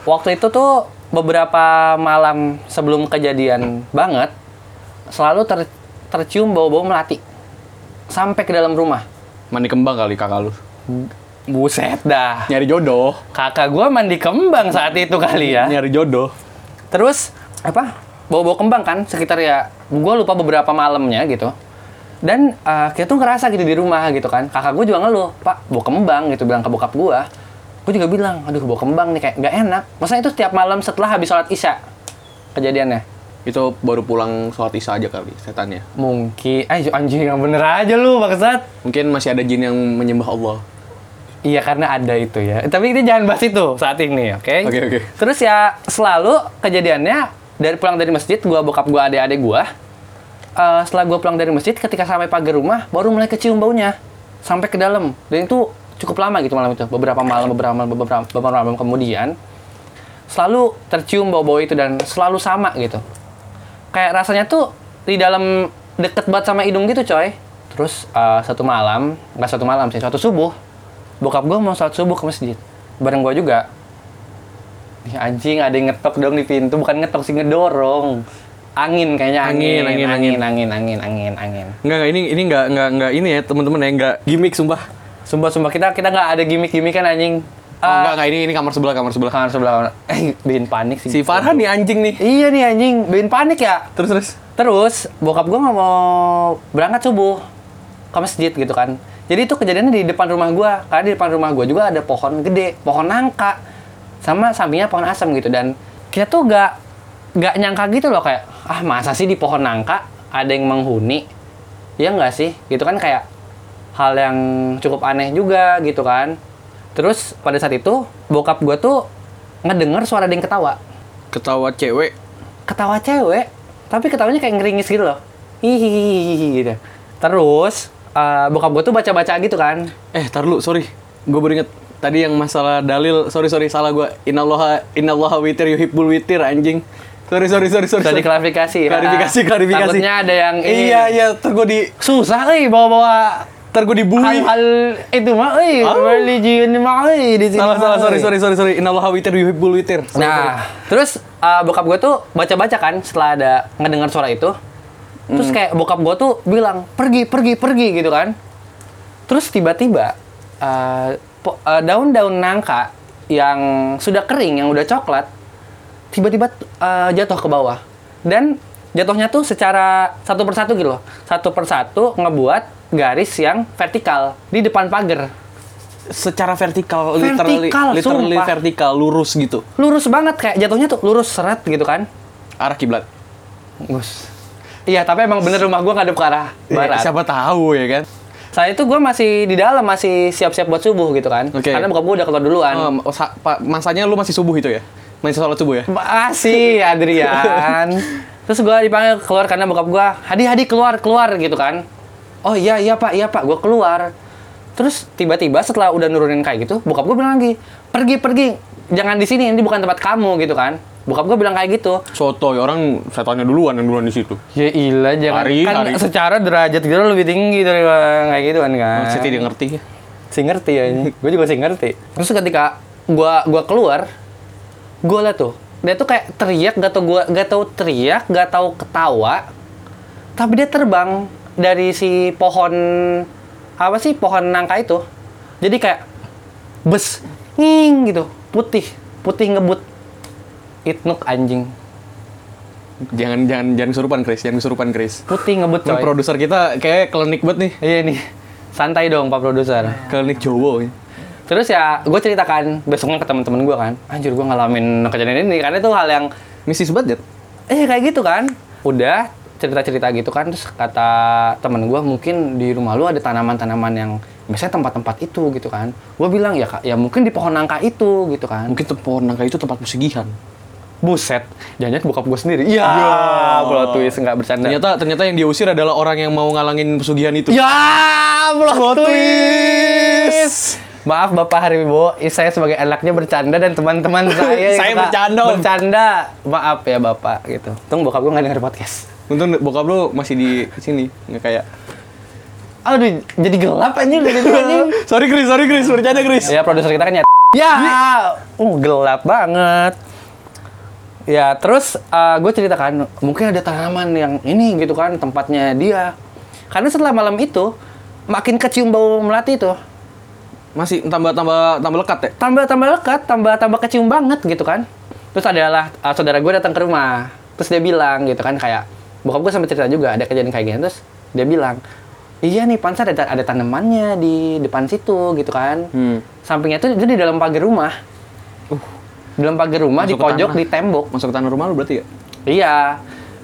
Speaker 2: Waktu itu tuh beberapa malam sebelum kejadian banget, selalu ter- tercium bau-bau melati. Sampai ke dalam rumah.
Speaker 3: Mandi kembang kali kakak lu.
Speaker 2: Buset dah.
Speaker 3: Nyari jodoh,
Speaker 2: Kakak gua mandi kembang saat itu kali ya.
Speaker 3: nyari jodoh.
Speaker 2: Terus apa? Bawa-bawa kembang kan sekitar ya gue lupa beberapa malamnya gitu. Dan eh, kita tuh ngerasa gitu di rumah gitu kan. Kakak gue juga ngeluh, "Pak, bawa kembang." gitu bilang ke bokap gue. Gue juga bilang, "Aduh, bawa kembang nih kayak nggak enak." Maksudnya itu setiap malam setelah habis sholat Isya kejadiannya.
Speaker 3: Itu Itu baru pulang sholat isya aja kali setannya.
Speaker 2: Mungkin, eh anjing yang bener aja lu bangsat.
Speaker 3: Mungkin masih ada jin yang menyembah Allah.
Speaker 2: Iya karena ada itu ya. Tapi kita jangan bahas itu saat ini, oke?
Speaker 3: Oke, oke.
Speaker 2: Terus ya selalu kejadiannya dari pulang dari masjid, gua bokap gua adik-adik gua. eh, setelah gua pulang dari masjid, ketika sampai pagar rumah, baru mulai kecium baunya sampai ke dalam. Dan itu cukup lama gitu malam itu, beberapa malam, beberapa malam, beberapa, beberapa malam kemudian selalu tercium bau-bau itu dan selalu sama gitu. Kayak rasanya tuh di dalam deket banget sama hidung gitu coy. Terus eh, satu malam, nggak satu malam sih, suatu subuh, bokap gue mau sholat subuh ke masjid. Bareng gue juga. Ih, anjing ada yang ngetok dong di pintu, bukan ngetok sih ngedorong. Angin kayaknya angin,
Speaker 3: Angin, angin,
Speaker 2: angin, angin, angin, angin.
Speaker 3: Enggak, enggak ini ini enggak enggak enggak ini ya teman-teman ya enggak gimmick sumpah.
Speaker 2: Sumpah, sumpah kita kita nggak ada gimmick-gimmick kan anjing.
Speaker 3: Oh,
Speaker 2: Ah,
Speaker 3: enggak enggak ini ini kamar sebelah kamar sebelah.
Speaker 2: kamar sebelah, kamar- eh, bikin panik sih.
Speaker 3: Si Farhan nih anjing nih.
Speaker 2: Iya nih anjing, bikin panik ya.
Speaker 3: Terus terus.
Speaker 2: Terus bokap gue nggak mau berangkat subuh ke masjid gitu kan. Jadi itu kejadiannya di depan rumah gue. Karena di depan rumah gue juga ada pohon gede, pohon nangka, sama sampingnya pohon asam gitu. Dan kita tuh gak nggak nyangka gitu loh kayak ah masa sih di pohon nangka ada yang menghuni? Ya nggak sih, gitu kan kayak hal yang cukup aneh juga gitu kan. Terus pada saat itu bokap gue tuh ngedenger suara ada yang ketawa
Speaker 3: Ketawa cewek.
Speaker 2: ketawa cewek tapi ketawanya kayak ngeringis gitu loh hihihi gitu terus eh, bokap gue tuh baca-baca gitu kan
Speaker 3: Eh, tar lu, sorry. Gue baru inget. Tadi yang masalah dalil, sorry sorry salah gue. Inalloha inalloha witir yuhibbul witir anjing. Sorry sorry sorry sorry.
Speaker 2: Udah diklarifikasi
Speaker 3: Klarifikasi
Speaker 2: Ah,
Speaker 3: klarifikasi.
Speaker 2: takutnya ada yang ini.
Speaker 3: Iya iya, ter gue di
Speaker 2: susah eh bawa-bawa
Speaker 3: ter gue dibully.
Speaker 2: hal-hal itu mah eh
Speaker 3: Au.
Speaker 2: religion mah eh di sini
Speaker 3: Oh. Salah salah
Speaker 2: mah, eh.
Speaker 3: sorry sorry sorry sorry. Inalloha witir yuhibbul witir. Sorry, sorry.
Speaker 2: Nah, terus uh, bokap gue tuh baca-baca kan setelah ada ngedengar suara itu. Terus kayak bokap gue tuh bilang, pergi, pergi, pergi gitu kan. Terus tiba-tiba uh, po- uh, daun-daun nangka yang sudah kering, yang udah coklat, tiba-tiba uh, jatuh ke bawah. Dan jatuhnya tuh secara satu persatu gitu loh. Satu persatu ngebuat garis yang vertikal di depan pagar.
Speaker 3: secara vertikal, literally,
Speaker 2: Vertikal,
Speaker 3: literally
Speaker 2: sumpah.
Speaker 3: vertikal, lurus gitu.
Speaker 2: Lurus banget kayak jatuhnya tuh lurus seret gitu kan.
Speaker 3: Arah kiblat.
Speaker 2: Gus. Iya, tapi emang bener rumah gua ngadep ke arah barat.
Speaker 3: Eh, siapa tahu ya kan?
Speaker 2: Saat itu gua masih di dalam, masih siap-siap buat subuh gitu kan.
Speaker 3: Oke.
Speaker 2: Karena bokap gua udah keluar duluan.
Speaker 3: Oh, ma- sa- pa- masanya lu masih subuh itu ya? Masih sholat subuh ya?
Speaker 2: Hmm. Makasih, Adrian. Terus gua dipanggil keluar karena bokap gua, "Hadi, Hadi keluar, keluar" gitu kan. Oh iya, iya Pak, iya Pak, gua keluar. Terus tiba-tiba setelah udah nurunin kayak gitu, bokap gua bilang lagi, "Pergi, pergi. Jangan di sini, ini bukan tempat kamu" gitu kan. Bokap gua bilang kayak gitu.
Speaker 3: Soto, ya orang setannya duluan yang duluan di situ.
Speaker 2: Ya ilah jangan
Speaker 3: Hari,
Speaker 2: kan
Speaker 3: hari.
Speaker 2: secara derajat gitu lebih tinggi dari kayak gitu kan kan.
Speaker 3: Masih tidak ngerti ya?
Speaker 2: sih ngerti ya ini gue juga sih ngerti terus ketika gua gua keluar gua liat tuh dia tuh kayak teriak gak tau gua gak tau teriak gak tau ketawa tapi dia terbang dari si pohon apa sih pohon nangka itu jadi kayak bes nging gitu putih putih ngebut itnuk anjing
Speaker 3: Jangan jangan jangan kesurupan Chris, jangan kesurupan Chris.
Speaker 2: putih
Speaker 3: Ini
Speaker 2: ngebut coy
Speaker 3: Produser kita kayak klinik banget nih.
Speaker 2: iya nih santai dong pak produser
Speaker 3: Klinik Jowo. ya.
Speaker 2: Terus ya gue ceritakan besoknya ke teman-teman gue kan, anjir gue ngalamin kejadian ini karena itu hal yang
Speaker 3: Mistis banget ya?
Speaker 2: eh kayak gitu kan. Udah cerita-cerita gitu kan terus kata temen gue mungkin di rumah lu ada tanaman-tanaman yang biasanya tempat-tempat itu gitu kan. Gue bilang ya Kak, ya mungkin di pohon nangka itu gitu kan.
Speaker 3: Mungkin tempat nangka itu tempat pesugihan.
Speaker 2: Buset, jangan bokap gue sendiri. Iya,
Speaker 3: Ya.
Speaker 2: plot twist nggak bercanda.
Speaker 3: Ternyata ternyata yang diusir adalah orang yang mau ngalangin pesugihan itu.
Speaker 2: Ya, plot
Speaker 3: Plot
Speaker 2: twist.
Speaker 3: twist.
Speaker 2: Maaf Bapak Haribo, saya sebagai anaknya bercanda dan teman-teman saya yang
Speaker 3: Saya
Speaker 2: suka
Speaker 3: bercanda, Om.
Speaker 2: Bercanda. Maaf ya Bapak gitu. Untung bokap gue nggak denger podcast.
Speaker 3: Untung bokap lu masih di sini, nggak kayak.
Speaker 2: Aduh, jadi gelap anjir dari tadi, anjing.
Speaker 3: sorry Chris, sorry Chris, bercanda Chris.
Speaker 2: Ya produser kita kan ya. Ya, uh, gelap banget. Ya terus gue ceritakan mungkin ada tanaman yang ini gitu kan tempatnya dia. Karena setelah malam itu makin kecium bau melati itu.
Speaker 3: Masih tambah tambah tambah lekat ya?
Speaker 2: tambah tambah lekat, tambah tambah kecium banget gitu kan. Terus adalah uh, saudara gue datang ke rumah, terus dia bilang gitu kan kayak bokap gue sampai cerita juga ada kejadian kayak gini terus dia bilang iya nih pansa ada, ada tanamannya di depan situ gitu kan.
Speaker 3: Hmm. Uh.
Speaker 2: Sampingnya tuh itu di dalam pagar rumah. Dalam pagar rumah
Speaker 3: Masuk
Speaker 2: di
Speaker 3: ke
Speaker 2: pojok
Speaker 3: tanah.
Speaker 2: di tembok.
Speaker 3: Masuk ke tanah rumah lu berarti ya?
Speaker 2: Iya.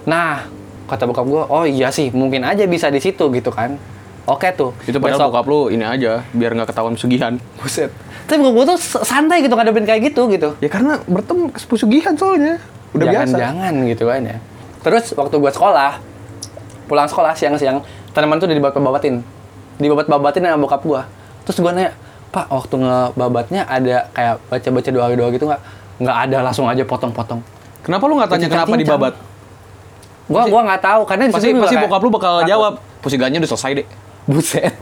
Speaker 2: Nah, kata bokap gue, oh iya sih, mungkin aja bisa di situ gitu kan. Oke tuh.
Speaker 3: Itu padahal bokap lu ini aja, biar nggak ketahuan pesugihan.
Speaker 2: Buset. Tapi bokap gue tuh santai gitu ngadepin kayak gitu gitu.
Speaker 3: Ya karena bertemu pesugihan soalnya. Udah biasa.
Speaker 2: Jangan-jangan gitu kan ya. Terus waktu gua sekolah, pulang sekolah siang-siang, tanaman tuh udah dibabat-babatin. Dibabat-babatin sama bokap gua. Terus gua nanya, "Pak, waktu ngebabatnya ada kayak baca-baca doa-doa gitu nggak?" Nggak ada, langsung aja potong-potong.
Speaker 3: Kenapa lu nggak tanya
Speaker 2: Cincang,
Speaker 3: kenapa
Speaker 2: cincang.
Speaker 3: dibabat?
Speaker 2: Gua gua nggak tahu karena di
Speaker 3: Pasti
Speaker 2: situ juga
Speaker 3: pasti
Speaker 2: kayak
Speaker 3: bokap lu bakal
Speaker 2: takut.
Speaker 3: jawab. Pesugihannya udah selesai deh.
Speaker 2: Buset.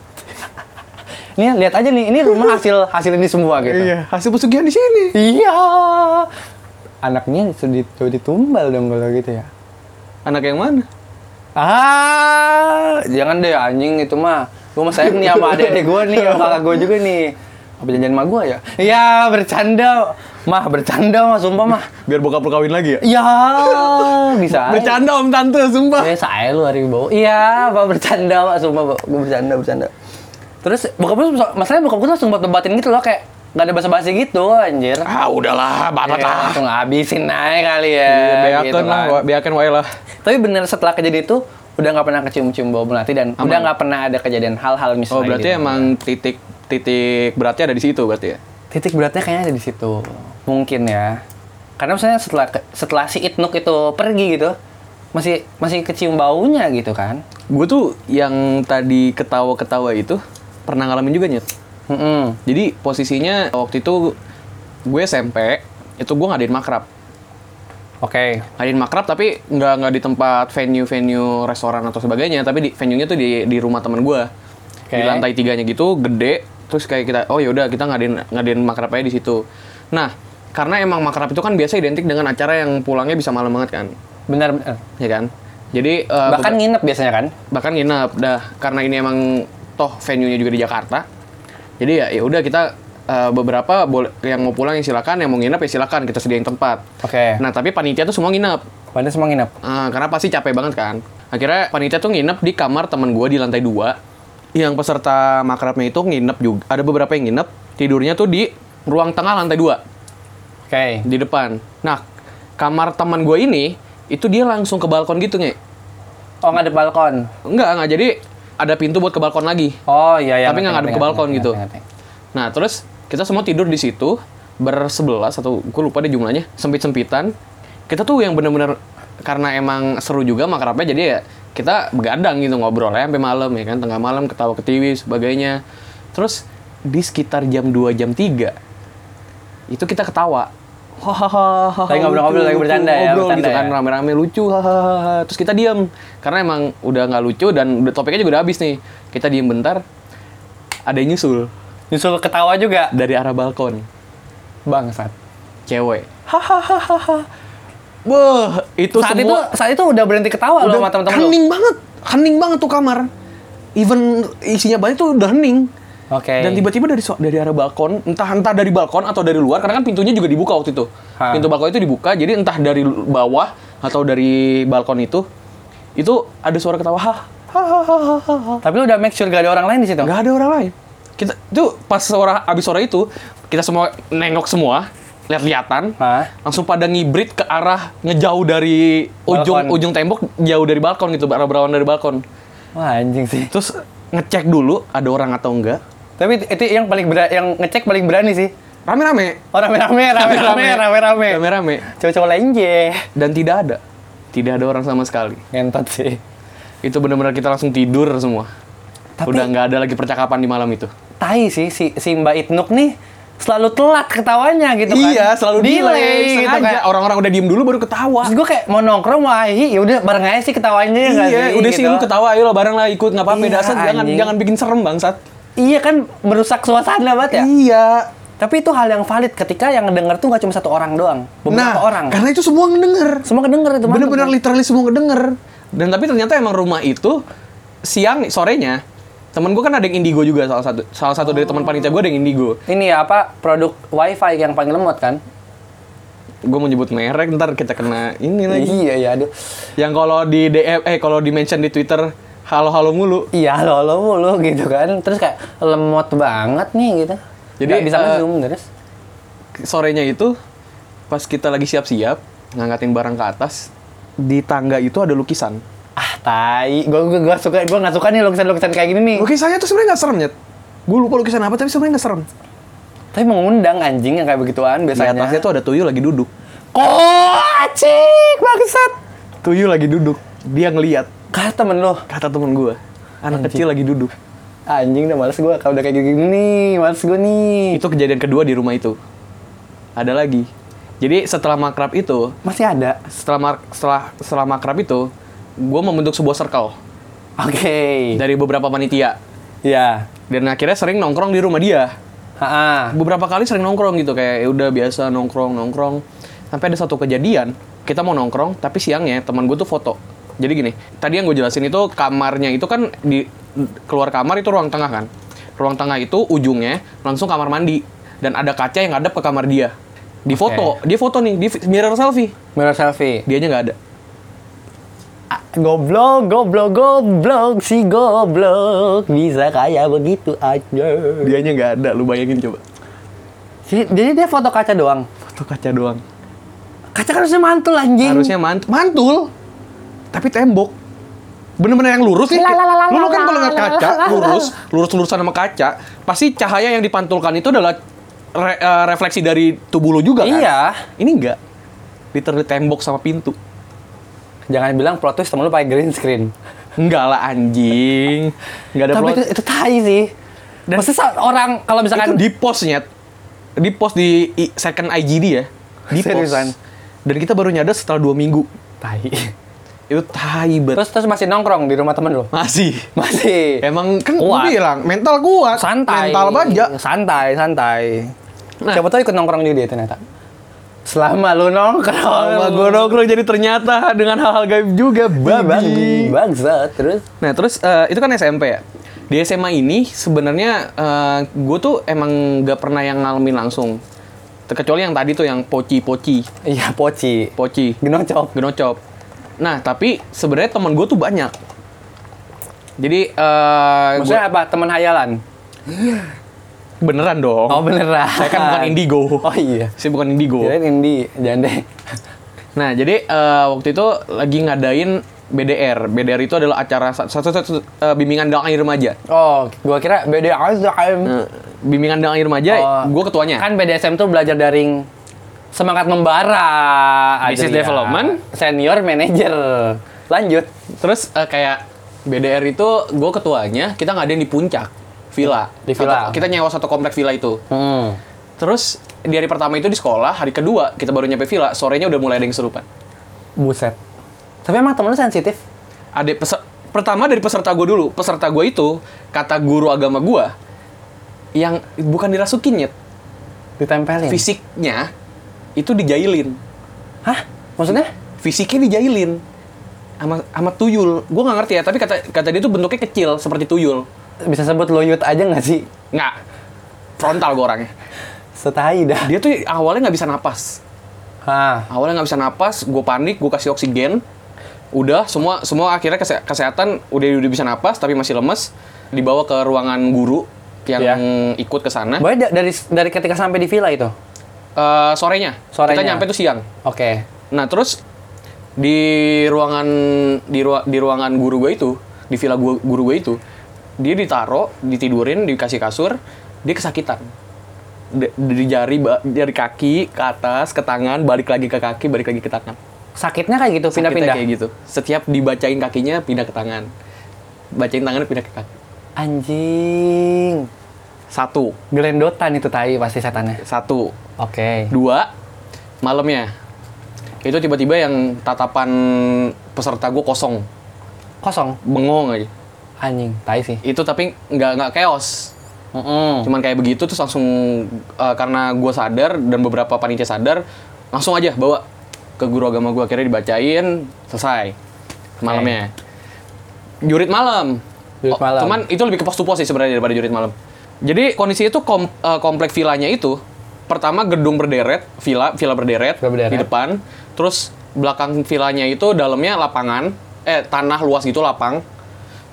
Speaker 2: Nih lihat aja nih, ini rumah hasil hasil ini semua
Speaker 3: Ya
Speaker 2: gitu.
Speaker 3: Iya, Hasil pesugihan di sini.
Speaker 2: Iya. Anaknya jadi ditumbal dong kalau gitu ya.
Speaker 3: Anak yang mana?
Speaker 2: Ah, jangan deh anjing itu mah. Gue mah sayang nih sama adik-adik gue nih, sama kakak gue juga nih. Apa janjian sama gue ya? Ya, bercanda. Mah, bercanda mah, sumpah mah.
Speaker 3: Biar bokap lu kawin lagi ya?
Speaker 2: Ya, bisa aja.
Speaker 3: Bercanda om tante, sumpah.
Speaker 2: Biasa aja lu hari bawa. Iya, mah bercanda mah, sumpah. Gue bercanda, bercanda. Terus, bokap gue, masalahnya bokap gue tuh langsung buat debatin gitu loh, kayak Gak ada basa-basi gitu, anjir.
Speaker 3: Ah udahlah, banget
Speaker 2: Ya,
Speaker 3: lah.
Speaker 2: langsung habisin aja kali ya.
Speaker 3: Beakan Iya,
Speaker 2: gitu
Speaker 3: lah,
Speaker 2: kan.
Speaker 3: beakan wae lah.
Speaker 2: Tapi bener setelah kejadian itu udah nggak pernah kecium-cium bau melati dan udah nggak pernah ada kejadian hal-hal misalnya.
Speaker 3: Oh berarti
Speaker 2: gitu.
Speaker 3: emang titik titik beratnya ada di situ berarti ya?
Speaker 2: titik beratnya kayaknya ada di situ. Mungkin ya. Karena misalnya setelah ke- setelah si Itnuk itu pergi gitu masih masih kecium baunya gitu kan.
Speaker 3: Gue tuh yang tadi ketawa-ketawa itu pernah ngalamin juga nyet.
Speaker 2: Mm-mm.
Speaker 3: Jadi posisinya waktu itu gue SMP itu gue ngadain makrab.
Speaker 2: Oke.
Speaker 3: Ngadain makrab tapi nggak nggak di tempat venue-venue restoran atau sebagainya, tapi di venue-nya tuh di di rumah temen gue.
Speaker 2: Oke.
Speaker 3: Di lantai tiganya gitu, gede. Terus kayak kita, oh yaudah kita ngadain ngadain makrab aja di situ. Nah, karena emang makrab itu kan biasa identik dengan acara yang pulangnya bisa malam banget kan,
Speaker 2: Benar benar.
Speaker 3: ya kan? Jadi eh,
Speaker 2: Bahkan nginep biasanya kan.
Speaker 3: bahkan nginep dah karena ini emang toh venue-nya juga di Jakarta jadi ya ya udah kita eh, beberapa boleh yang mau pulang ya silakan yang mau nginep ya silakan kita sediain tempat
Speaker 2: Oke.
Speaker 3: nah tapi panitia tuh semua nginep
Speaker 2: Padahal semua nginep.
Speaker 3: Ah, karena pasti capek banget kan akhirnya panitia tuh nginep di kamar teman gua di lantai dua yang peserta makrabnya itu nginep juga ada beberapa yang nginep tidurnya tuh di ruang tengah lantai dua
Speaker 2: Oke.
Speaker 3: di depan nah kamar teman gue ini itu dia langsung ke balkon gitu nih
Speaker 2: Oh nggak ada balkon.
Speaker 3: enggak enggak jadi ada pintu buat ke balkon lagi
Speaker 2: Oh iya iya.
Speaker 3: Tapi nggak ngadep ke
Speaker 2: ngerti, ngerti,
Speaker 3: balkon
Speaker 2: ngerti,
Speaker 3: gitu.
Speaker 2: ngerti, ngerti.
Speaker 3: Nah, terus kita semua tidur di situ bersebelas atau gue lupa deh jumlahnya, sempit-sempitan. Kita tuh yang bener-bener karena emang seru juga makrabnya jadi ya kita begadang gitu ngobrol ya sampai malam ya kan tengah malam ketawa ketiwi sebagainya. Terus di sekitar jam 2 jam 3 itu kita ketawa. Hahaha.
Speaker 2: Lagi ngobrol-ngobrol,
Speaker 3: lucu,
Speaker 2: lagi bercanda ya,
Speaker 3: ngobrol
Speaker 2: bercanda
Speaker 3: gitu kan
Speaker 2: ya.
Speaker 3: rame-rame lucu. Hahaha. Terus kita diam karena emang udah nggak lucu dan udah- topiknya juga udah habis nih. Kita diem bentar. Ada yang nyusul
Speaker 2: Nyusul ketawa juga.
Speaker 3: dari arah balkon
Speaker 2: Bangsat.
Speaker 3: cewek Wah, itu
Speaker 2: saat itu
Speaker 3: semua
Speaker 2: saat itu udah berhenti ketawa loh sama teman-teman lu.
Speaker 3: hening banget hening banget tuh kamar even isinya banyak tuh udah hening
Speaker 2: Oke.
Speaker 3: dan tiba-tiba dari so- dari arah balkon entah entah dari balkon atau dari luar karena kan pintunya juga dibuka waktu itu
Speaker 2: Ha.
Speaker 3: pintu balkon itu dibuka jadi entah dari lu- bawah atau dari balkon itu itu ada suara ketawa hah
Speaker 2: Tapi lu udah make sure gak ada orang lain di situ.
Speaker 3: nggak ada orang lain kita tuh pas suara abis suara itu kita semua nengok semua lihat-lihatan
Speaker 2: Hah?
Speaker 3: langsung pada ngibrit ke arah ngejauh dari ujung
Speaker 2: Balkon.
Speaker 3: ujung tembok jauh dari balkon gitu arah berawan dari balkon
Speaker 2: Wah anjing sih.
Speaker 3: terus ngecek dulu ada orang atau enggak
Speaker 2: Tapi itu- itu yang paling berani, yang ngecek paling berani sih.
Speaker 3: rame-rame
Speaker 2: Oh rame-rame, rame-rame, rame-rame.
Speaker 3: rame-rame
Speaker 2: Cowok-cowok lenje.
Speaker 3: dan tidak ada tidak ada orang sama sekali
Speaker 2: Ngentot sih.
Speaker 3: itu benar-benar kita langsung tidur semua
Speaker 2: Tapi-
Speaker 3: udah nggak ada lagi percakapan di malam itu
Speaker 2: Tai sih si, si Mbak Itnuk nih selalu telat ketawanya gitu kan. gitu
Speaker 3: Iya, sengaja
Speaker 2: kan.
Speaker 3: orang-orang udah diem dulu baru ketawa
Speaker 2: Terus gue kayak mau nongkrong, wah hi, yaudah bareng aja sih ketawanya ya nggak
Speaker 3: Iya,
Speaker 2: sih,
Speaker 3: udah sih
Speaker 2: gitu.
Speaker 3: lu ketawa, ayo lo bareng lah ikut, nggak apa-apa.
Speaker 2: Iya,
Speaker 3: dasar jangan
Speaker 2: anjing.
Speaker 3: jangan bikin serem bangsat.
Speaker 2: Iya kan merusak suasana banget ya.
Speaker 3: Iya.
Speaker 2: Tapi itu hal yang valid ketika yang denger tuh nggak cuma satu orang doang, beberapa orang.
Speaker 3: Nah, karena itu semua ngedenger.
Speaker 2: Semua kedenger itu mantep.
Speaker 3: Bener-bener literally semua ngedenger. Dan tapi ternyata emang rumah itu siang sorenya temen gue kan ada yang indigo juga salah satu salah satu dari teman panitia gue ada yang indigo
Speaker 2: Ini ya apa produk wifi yang paling lemot kan?
Speaker 3: gue mau nyebut merek ntar kita kena ini lagi
Speaker 2: Iya ya aduh.
Speaker 3: yang kalau di DM eh kalau di mention di twitter halo halo mulu
Speaker 2: Iya lo lo mulu gitu kan. Terus kayak lemot banget nih gitu.
Speaker 3: Jadi,
Speaker 2: Jadi bisa
Speaker 3: eh,
Speaker 2: zoom terus.
Speaker 3: sorenya itu pas kita lagi siap siap ngangkatin barang ke atas di tangga itu ada lukisan.
Speaker 2: ah tai gue gue gue suka gue nggak suka nih lukisan lukisan kayak gini nih
Speaker 3: Lukisannya tuh sebenarnya nggak serem ya. Gue lupa lukisan apa tapi sebenarnya nggak serem.
Speaker 2: tapi mengundang anjing yang kayak begituan
Speaker 3: Di
Speaker 2: biasanya
Speaker 3: atasnya tuh ada tuyul lagi duduk.
Speaker 2: kok acik bangsat
Speaker 3: Tuyul lagi duduk. Dia ngeliat
Speaker 2: kata temen lo
Speaker 3: kata temen gue. Anak kecil lagi duduk.
Speaker 2: anjing udah males gue kalau udah kayak gini nih males gue nih
Speaker 3: Itu kejadian kedua di rumah itu. Ada lagi. Jadi setelah makrab itu,
Speaker 2: masih ada
Speaker 3: setelah mar- setelah setelah makrab itu, gue membentuk sebuah circle
Speaker 2: oke
Speaker 3: dari beberapa panitia.
Speaker 2: ya
Speaker 3: Dan akhirnya sering nongkrong di rumah dia.
Speaker 2: ha
Speaker 3: beberapa kali sering nongkrong gitu kayak ya udah biasa nongkrong nongkrong sampai ada satu kejadian kita mau nongkrong tapi siangnya teman gue tuh foto jadi gini tadi yang gue jelasin itu kamarnya itu kan di keluar kamar itu ruang tengah kan ruang tengah itu ujungnya langsung kamar mandi dan ada kaca yang ngadep ke kamar dia di foto dia foto nih di mirror selfie
Speaker 2: mirror selfie
Speaker 3: dianya nggak ada
Speaker 2: Ah, goblok goblok goblok si goblok bisa kayak begitu aja
Speaker 3: dianya nggak ada lu bayangin coba
Speaker 2: Jadi, jadi dia foto kaca doang.
Speaker 3: foto kaca doang
Speaker 2: Kaca kan harusnya mantul anjing.
Speaker 3: harusnya mantul mantul tapi tembok bener-bener yang lurus nih lu, lu kan kalau ngeliat kaca lurus lurus lurusan sama kaca pasti cahaya yang dipantulkan itu adalah re- eh, refleksi dari tubuh lu juga kan
Speaker 2: Iya.
Speaker 3: ini enggak literally tembok sama pintu
Speaker 2: Jangan bilang plot twist temen lu pakai green screen.
Speaker 3: enggak lah anjing enggak ada
Speaker 2: Tapi
Speaker 3: plot
Speaker 2: itu, itu tai sih.
Speaker 3: Dan-
Speaker 2: Maksudnya sa- orang kalau misalkan
Speaker 3: itu di postnya di post di i- second IGD ya di post
Speaker 2: Seriusan?
Speaker 3: dan kita baru nyadar setelah dua minggu
Speaker 2: tai.
Speaker 3: itu tai banget
Speaker 2: Terus terus masih nongkrong di rumah temen lu.
Speaker 3: masih
Speaker 2: Masih.
Speaker 3: Emang kan gue
Speaker 2: Kuat.
Speaker 3: bilang mental kuat,
Speaker 2: santai.
Speaker 3: mental baja.
Speaker 2: Santai, santai.
Speaker 3: Nah.
Speaker 2: Siapa tahu ikut nongkrong juga dia ternyata. Selama lu nongkrong.
Speaker 3: Sama gue nongkrong jadi ternyata dengan hal-hal gaib juga
Speaker 2: Babi,
Speaker 3: babi.
Speaker 2: Bangsat. Terus
Speaker 3: Nah terus eh, itu kan SMP ya. Di SMA ini sebenarnya gue tuh emang gak pernah yang ngalamin langsung. Terkecuali yang tadi tuh yang poci-poci,
Speaker 2: iya poci.
Speaker 3: poci,
Speaker 2: Genocop.
Speaker 3: genocop. Nah tapi sebenarnya teman gue tuh banyak. Jadi eh, gua-
Speaker 2: Maksudnya apa? Teman hayalan.
Speaker 3: beneran dong.
Speaker 2: Oh beneran.
Speaker 3: Saya kan bukan indigo.
Speaker 2: Oh iya.
Speaker 3: Saya bukan indigo.
Speaker 2: Kirain Indi, jangan deh.
Speaker 3: Nah, jadi eh, waktu itu lagi ngadain BDR. BDR itu adalah acara satu satu, satu eh, bimbingan dakwah remaja.
Speaker 2: Oh, gua kira BDSM.
Speaker 3: Eh, bimbingan dakwah remaja,
Speaker 2: Oh.
Speaker 3: gue ketuanya.
Speaker 2: Kan BDSM tuh belajar daring semangat membara.
Speaker 3: Business
Speaker 2: Adria.
Speaker 3: development.
Speaker 2: Senior manager. Lanjut.
Speaker 3: Terus eh, kayak BDR itu gue ketuanya, kita ngadain di puncak villa.
Speaker 2: Di villa.
Speaker 3: Satu- kita nyewa satu komplek villa itu.
Speaker 2: Hmm.
Speaker 3: Terus di hari pertama itu di sekolah, hari kedua kita baru nyampe villa, sorenya udah mulai ada yang serupan.
Speaker 2: Buset. Tapi emang temen lu sensitif?
Speaker 3: Ada pese- pertama dari peserta gue dulu, peserta gue itu kata guru agama gue yang bukan dirasukin nyet,
Speaker 2: Ditempelin?
Speaker 3: fisiknya itu dijailin
Speaker 2: Hah? Maksudnya?
Speaker 3: fisiknya dijailin sama sama tuyul gue nggak ngerti ya tapi kata kata dia tuh bentuknya kecil seperti tuyul
Speaker 2: Bisa sebut loyut aja nggak sih?
Speaker 3: nggak frontal gue orangnya
Speaker 2: Setai dah.
Speaker 3: dia tuh awalnya nggak bisa napas
Speaker 2: Hah.
Speaker 3: awalnya nggak bisa napas gue panik gue kasih oksigen udah semua semua akhirnya kese- kesehatan udah udah bisa napas tapi masih lemes dibawa ke ruangan guru yang
Speaker 2: Iya.
Speaker 3: ikut ke sana
Speaker 2: Boleh da- dari dari ketika sampai di villa itu?
Speaker 3: Eh, sorenya.
Speaker 2: Sorenya.
Speaker 3: kita nyampe tuh siang
Speaker 2: Oke.
Speaker 3: Nah terus di ruangan di, rua- di ruangan guru gue itu di villa gua, guru gue itu dia ditaro ditidurin dikasih kasur dia kesakitan D- dari jari ba- dari kaki ke atas ke tangan balik lagi ke kaki balik lagi ke tangan
Speaker 2: Sakitnya kayak gitu,
Speaker 3: Sakitnya
Speaker 2: pindah-pindah?
Speaker 3: kayak gitu setiap dibacain kakinya pindah ke tangan bacain tangannya pindah ke kaki
Speaker 2: Anjing.
Speaker 3: satu
Speaker 2: Gelendotan itu tai pasti setannya.
Speaker 3: satu
Speaker 2: Oke.
Speaker 3: dua malamnya itu tiba-tiba yang tatapan peserta gue kosong
Speaker 2: Kosong.
Speaker 3: bengong aja
Speaker 2: Anjing, tai sih.
Speaker 3: itu tapi nggak nggak chaos
Speaker 2: Mm-mm.
Speaker 3: cuman kayak begitu terus langsung eh, karena gue sadar dan beberapa panitia sadar langsung aja bawa ke guru agama gue akhirnya dibacain selesai malamnya jurit malam Oh,
Speaker 2: Jurit malam.
Speaker 3: cuman itu lebih ke pos to pos sih sebenarnya daripada jurit malam jadi kondisi itu kom- eh, komplek villanya itu pertama gedung berderet villa villa berderet,
Speaker 2: Villa berderet.
Speaker 3: di depan terus belakang villanya itu dalamnya lapangan eh tanah luas gitu lapang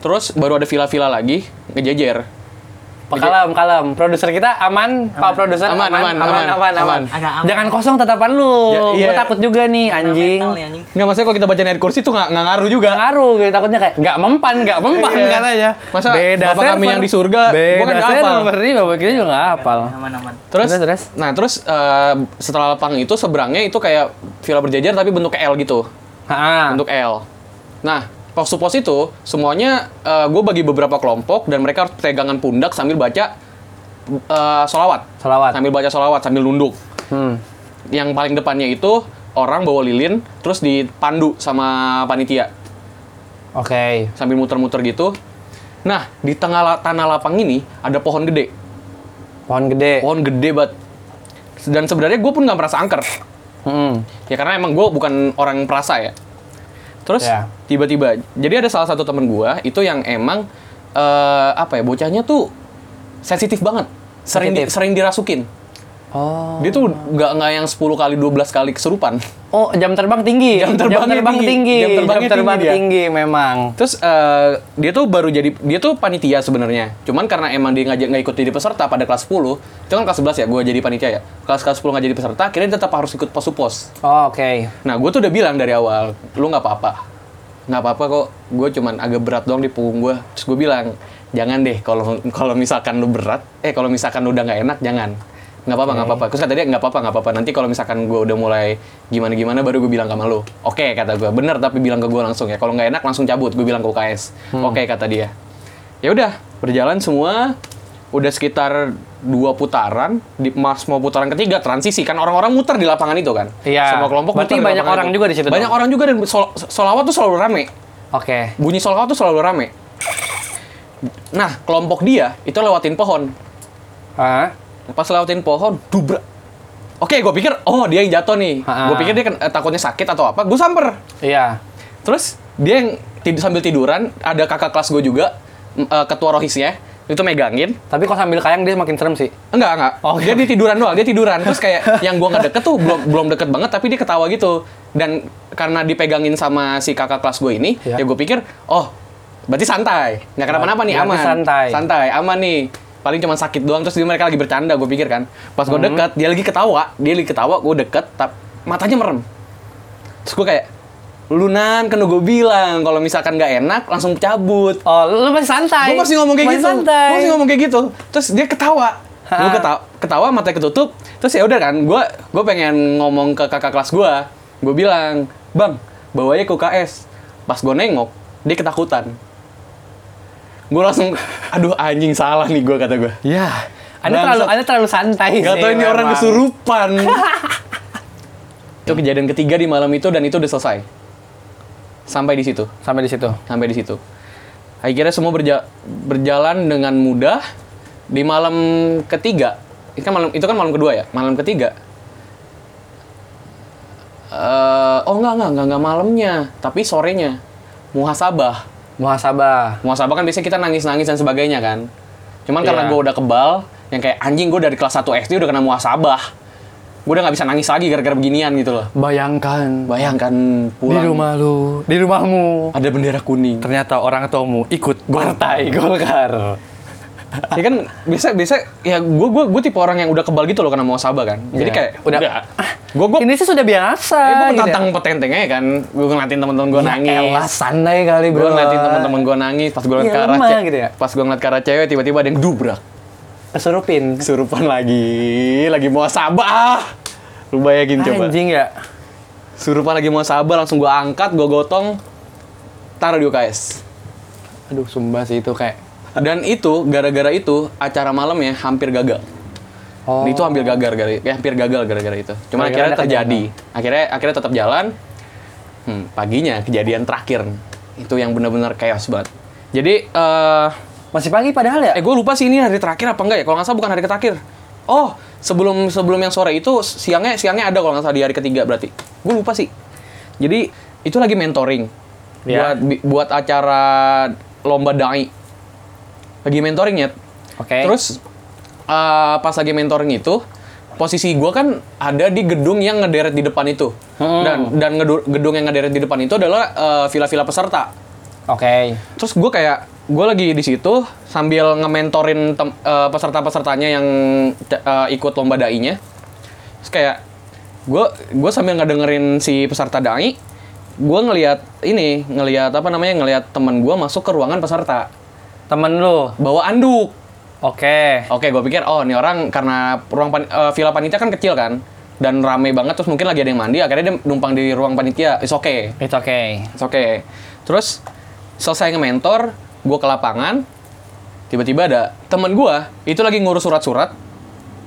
Speaker 3: terus baru ada villa-villa lagi ngejejer
Speaker 2: Kalem, kalem. Produser kita aman, Pak produser
Speaker 3: Aman, aman,
Speaker 2: aman, aman,
Speaker 3: aman,
Speaker 2: aman.
Speaker 1: aman. Agak aman.
Speaker 2: Jangan kosong tatapan lu.
Speaker 3: Ya, iya.
Speaker 2: Gua takut juga nih anjing.
Speaker 1: Mental nih, ya, anjing.
Speaker 3: Nggak maksudnya kalau kita baca dari kursi tuh nggak nggak ngaruh juga.
Speaker 2: Ngaruh gitu takutnya kayak nggak mempan, nggak mempan kan
Speaker 3: Iya.
Speaker 2: katanya.
Speaker 3: Masa Bapak kami yang di surga, gua
Speaker 2: beda
Speaker 3: kan nggak
Speaker 2: server.
Speaker 3: hafal.
Speaker 2: Ini bapak kita juga nggak hafal.
Speaker 1: Aman-aman.
Speaker 3: Terus,
Speaker 2: Terus, terus?
Speaker 3: nah terus eh, setelah lapang itu seberangnya itu kayak villa berjajar tapi bentuk L gitu,
Speaker 2: Ha-ha.
Speaker 3: bentuk L. Nah waktu pos itu semuanya gue bagi beberapa kelompok dan mereka harus pegangan pundak sambil baca eh, solawat,
Speaker 2: Salawat.
Speaker 3: sambil baca solawat sambil nunduk.
Speaker 2: Hmm.
Speaker 3: Yang paling depannya itu orang bawa lilin terus dipandu sama panitia
Speaker 2: Oke.
Speaker 3: sambil muter-muter gitu. Nah di tengah la- tanah lapang ini ada pohon gede.
Speaker 2: Pohon gede.
Speaker 3: pohon gede banget dan sebenarnya gue pun nggak merasa angker
Speaker 2: Hmm.
Speaker 3: ya karena emang gue bukan orang yang perasa ya terus
Speaker 2: Ya.
Speaker 3: tiba-tiba jadi ada salah satu temen gue itu yang emang eh, apa ya bocahnya tuh sensitif banget sering di-
Speaker 2: Sensitif.
Speaker 3: sering dirasukin
Speaker 2: Oh.
Speaker 3: dia tuh nggak nggak yang 10 kali 12 kali kesurupan
Speaker 2: Oh, jam terbang tinggi.
Speaker 3: Jam terbangnya tinggi.
Speaker 2: tinggi.
Speaker 3: Jam terbangnya
Speaker 2: Jam terbang
Speaker 3: tinggi dia.
Speaker 2: tinggi memang.
Speaker 3: terus eh, dia tuh baru jadi dia tuh panitia sebenarnya cuman karena emang dia ngajak nggak ikut jadi peserta pada kelas 10 itu kan kelas 11 ya gue jadi panitia ya kelas kelas 10 nggak jadi peserta akhirnya dia tetap harus ikut pos-pos
Speaker 2: Oh, Oke.
Speaker 3: Nah, gue tuh udah bilang dari awal, lu nggak apa-apa. Nggak apa-apa kok, gue cuman agak berat doang di punggung gue. Terus gue bilang, jangan deh kalau kalau misalkan lu berat, eh kalau misalkan lu udah nggak enak, jangan. Nggak apa-apa, nggak apa-apa. Terus kata dia, nggak apa-apa, nggak apa-apa. Nanti kalau misalkan gue udah mulai gimana-gimana, baru gue bilang sama lu. Oke, kata gue. Bener, tapi bilang ke gue langsung ya. Kalau nggak enak, langsung cabut. Gue bilang ke UKS. Oke, kata dia. Ya udah, berjalan semua. Udah sekitar dua putaran, di mas mau putaran ketiga transisi kan orang-orang muter di lapangan itu kan.
Speaker 2: Iya.
Speaker 3: Semua kelompok
Speaker 2: Berarti
Speaker 3: muter di
Speaker 2: banyak
Speaker 3: lapangan
Speaker 2: orang
Speaker 3: itu.
Speaker 2: juga di situ
Speaker 3: Banyak
Speaker 2: dong?
Speaker 3: orang juga dan sol- solawat tuh selalu rame.
Speaker 2: Oke.
Speaker 3: Bunyi solawat tuh selalu rame. Nah, kelompok dia itu lewatin pohon.
Speaker 2: Ah.
Speaker 3: Pas lewatin pohon, dubrak. Oke, gue pikir, oh dia yang jatuh nih.
Speaker 2: Ha-ha.
Speaker 3: Gue pikir dia ken- eh, takutnya sakit atau apa. Gue samper.
Speaker 2: Iya.
Speaker 3: Terus dia yang tid- sambil tiduran, ada kakak kelas gue juga, m- eh, ketua rohisnya, itu megangin.
Speaker 2: Tapi kalau sambil kayang dia makin serem sih.
Speaker 3: Enggak, enggak.
Speaker 2: Oh,
Speaker 3: dia di tiduran doang, dia tiduran. Terus kayak yang gua nggak deket tuh belum belum deket banget tapi dia ketawa gitu. Dan karena dipegangin sama si kakak kelas gue ini,
Speaker 2: Iya.
Speaker 3: ya gue pikir, oh berarti santai. Nggak kenapa-napa nih,
Speaker 2: Berarti
Speaker 3: aman.
Speaker 2: santai.
Speaker 3: Santai, aman nih. Paling cuma sakit doang, terus dia- mereka lagi bercanda, gue pikir kan. Pas gue
Speaker 2: Hmm.
Speaker 3: deket, dia lagi ketawa. Dia lagi ketawa, gue deket, tap, matanya merem. Terus gue kayak, Lunan, kan gue bilang, kalau misalkan nggak enak, langsung cabut.
Speaker 2: Oh, lu masih santai.
Speaker 3: Gue masih ngomong kayak gitu.
Speaker 2: santai.
Speaker 3: Gue masih ngomong kayak gitu. Terus dia ketawa.
Speaker 2: Ha.
Speaker 3: Gue ketawa, ketawa mata ketutup. Terus ya udah kan, gue gue pengen ngomong ke kakak kelas gue. Gue bilang, bang, bawa aja ke UKS. Pas gue nengok, dia ketakutan. Gue langsung, aduh anjing salah nih gue kata gue.
Speaker 2: Ya. Anda
Speaker 3: Bangsat.
Speaker 2: terlalu Anda terlalu santai
Speaker 3: Gak
Speaker 2: sih
Speaker 3: tau ini orang
Speaker 2: memang.
Speaker 3: kesurupan. itu kejadian ketiga di malam itu dan itu udah selesai. Sampai di situ
Speaker 2: Sampai di situ.
Speaker 3: sampai di situ. Akhirnya semua berja- berjalan dengan mudah di malam ketiga. Itu kan malam itu kan malam kedua ya. Malam ketiga. eh oh enggak, enggak, enggak, enggak malamnya, tapi sorenya. Muhasabah.
Speaker 2: Muhasabah.
Speaker 3: Muhasabah kan biasanya kita nangis-nangis dan sebagainya kan. Cuman karena
Speaker 2: Iya.
Speaker 3: gue udah kebal, yang kayak anjing gue dari kelas 1 SD udah kena muhasabah. Gue udah nggak bisa nangis lagi gara-gara beginian gitu loh.
Speaker 2: Bayangkan
Speaker 3: Bayangkan
Speaker 2: di
Speaker 3: pulang
Speaker 2: rumah lu, di rumahmu.
Speaker 3: ada bendera kuning.
Speaker 2: Ternyata orang tuamu ikut partai Golkar.
Speaker 3: ya kan biasa biasa ya gue gue gue tipe orang yang udah kebal gitu loh karena mau sabah kan jadi
Speaker 2: Iya.
Speaker 3: kayak
Speaker 2: Udah.
Speaker 3: udah "Ah, gue gue
Speaker 2: Ini sih sudah biasa.
Speaker 3: ya gue
Speaker 2: gitu ya.
Speaker 3: tantang petenteng aja kan gue ngeliatin teman-teman gue
Speaker 2: Ya
Speaker 3: nangis
Speaker 2: elah, santai
Speaker 3: gue
Speaker 2: kali bro.
Speaker 3: ngeliatin teman-teman gue nangis pas gue ngeliat
Speaker 2: Iya,
Speaker 3: ke arah
Speaker 2: lemah
Speaker 3: cewek
Speaker 2: gitu ya.
Speaker 3: pas gue ngeliat ke arah cewek tiba-tiba ada yang dubrak
Speaker 2: Kesurupin.
Speaker 3: kesurupan lagi lagi mau sabah lu bayangin coba
Speaker 2: Anjing ya.
Speaker 3: surupan lagi mau sabah langsung gue angkat gue gotong taruh di UKS
Speaker 2: Aduh, sumpah sih itu kayak.
Speaker 3: dan itu gara-gara itu acara malamnya hampir gagal
Speaker 2: Oh.
Speaker 3: Itu hampir gagal gara ya, hampir gagal gara-gara itu. Cuma
Speaker 2: Gara-gara
Speaker 3: akhirnya
Speaker 2: ada
Speaker 3: terjadi. Akhirnya akhirnya tetap jalan. Hmm, paginya kejadian terakhir itu yang benar-benar chaos banget. Jadi eh
Speaker 2: Masih pagi padahal ya?
Speaker 3: eh gue lupa sih ini hari terakhir apa enggak ya? Kalau nggak salah bukan hari terakhir. Oh, sebelum sebelum yang sore itu siangnya siangnya ada kalau nggak salah di hari ketiga berarti. Gue lupa sih. Jadi itu lagi mentoring.
Speaker 2: Iya.
Speaker 3: Buat bi- buat acara lomba dai. Lagi mentoringnya.
Speaker 2: Oke.
Speaker 3: Terus eh, pas lagi mentoring itu posisi gua kan ada di gedung yang ngederet di depan itu
Speaker 2: Hmm.
Speaker 3: dan dan ngedu- gedung yang ngederet di depan itu adalah eh, villa-villa peserta.
Speaker 2: Oke.
Speaker 3: Terus gua kayak gue lagi di situ sambil nge-mentorin tem- eh, peserta-pesertanya yang te- eh, ikut lomba dai-nya. Terus kayak gue gue sambil ngedengerin si peserta dai, gue ngelihat ini, ngelihat apa namanya? ngelihat teman gue masuk ke ruangan peserta
Speaker 2: Temen lu.
Speaker 3: bawa anduk.
Speaker 2: Oke.
Speaker 3: Oke, gue pikir oh ini orang karena ruang pan- eh, villa panitia kan kecil kan dan rame banget terus mungkin lagi ada yang mandi akhirnya dia numpang di ruang panitia. It's okay.
Speaker 2: It's okay.
Speaker 3: It's okay. Terus selesai nge-mentor, gue ke lapangan, tiba-tiba ada temen gue itu lagi ngurus surat-surat,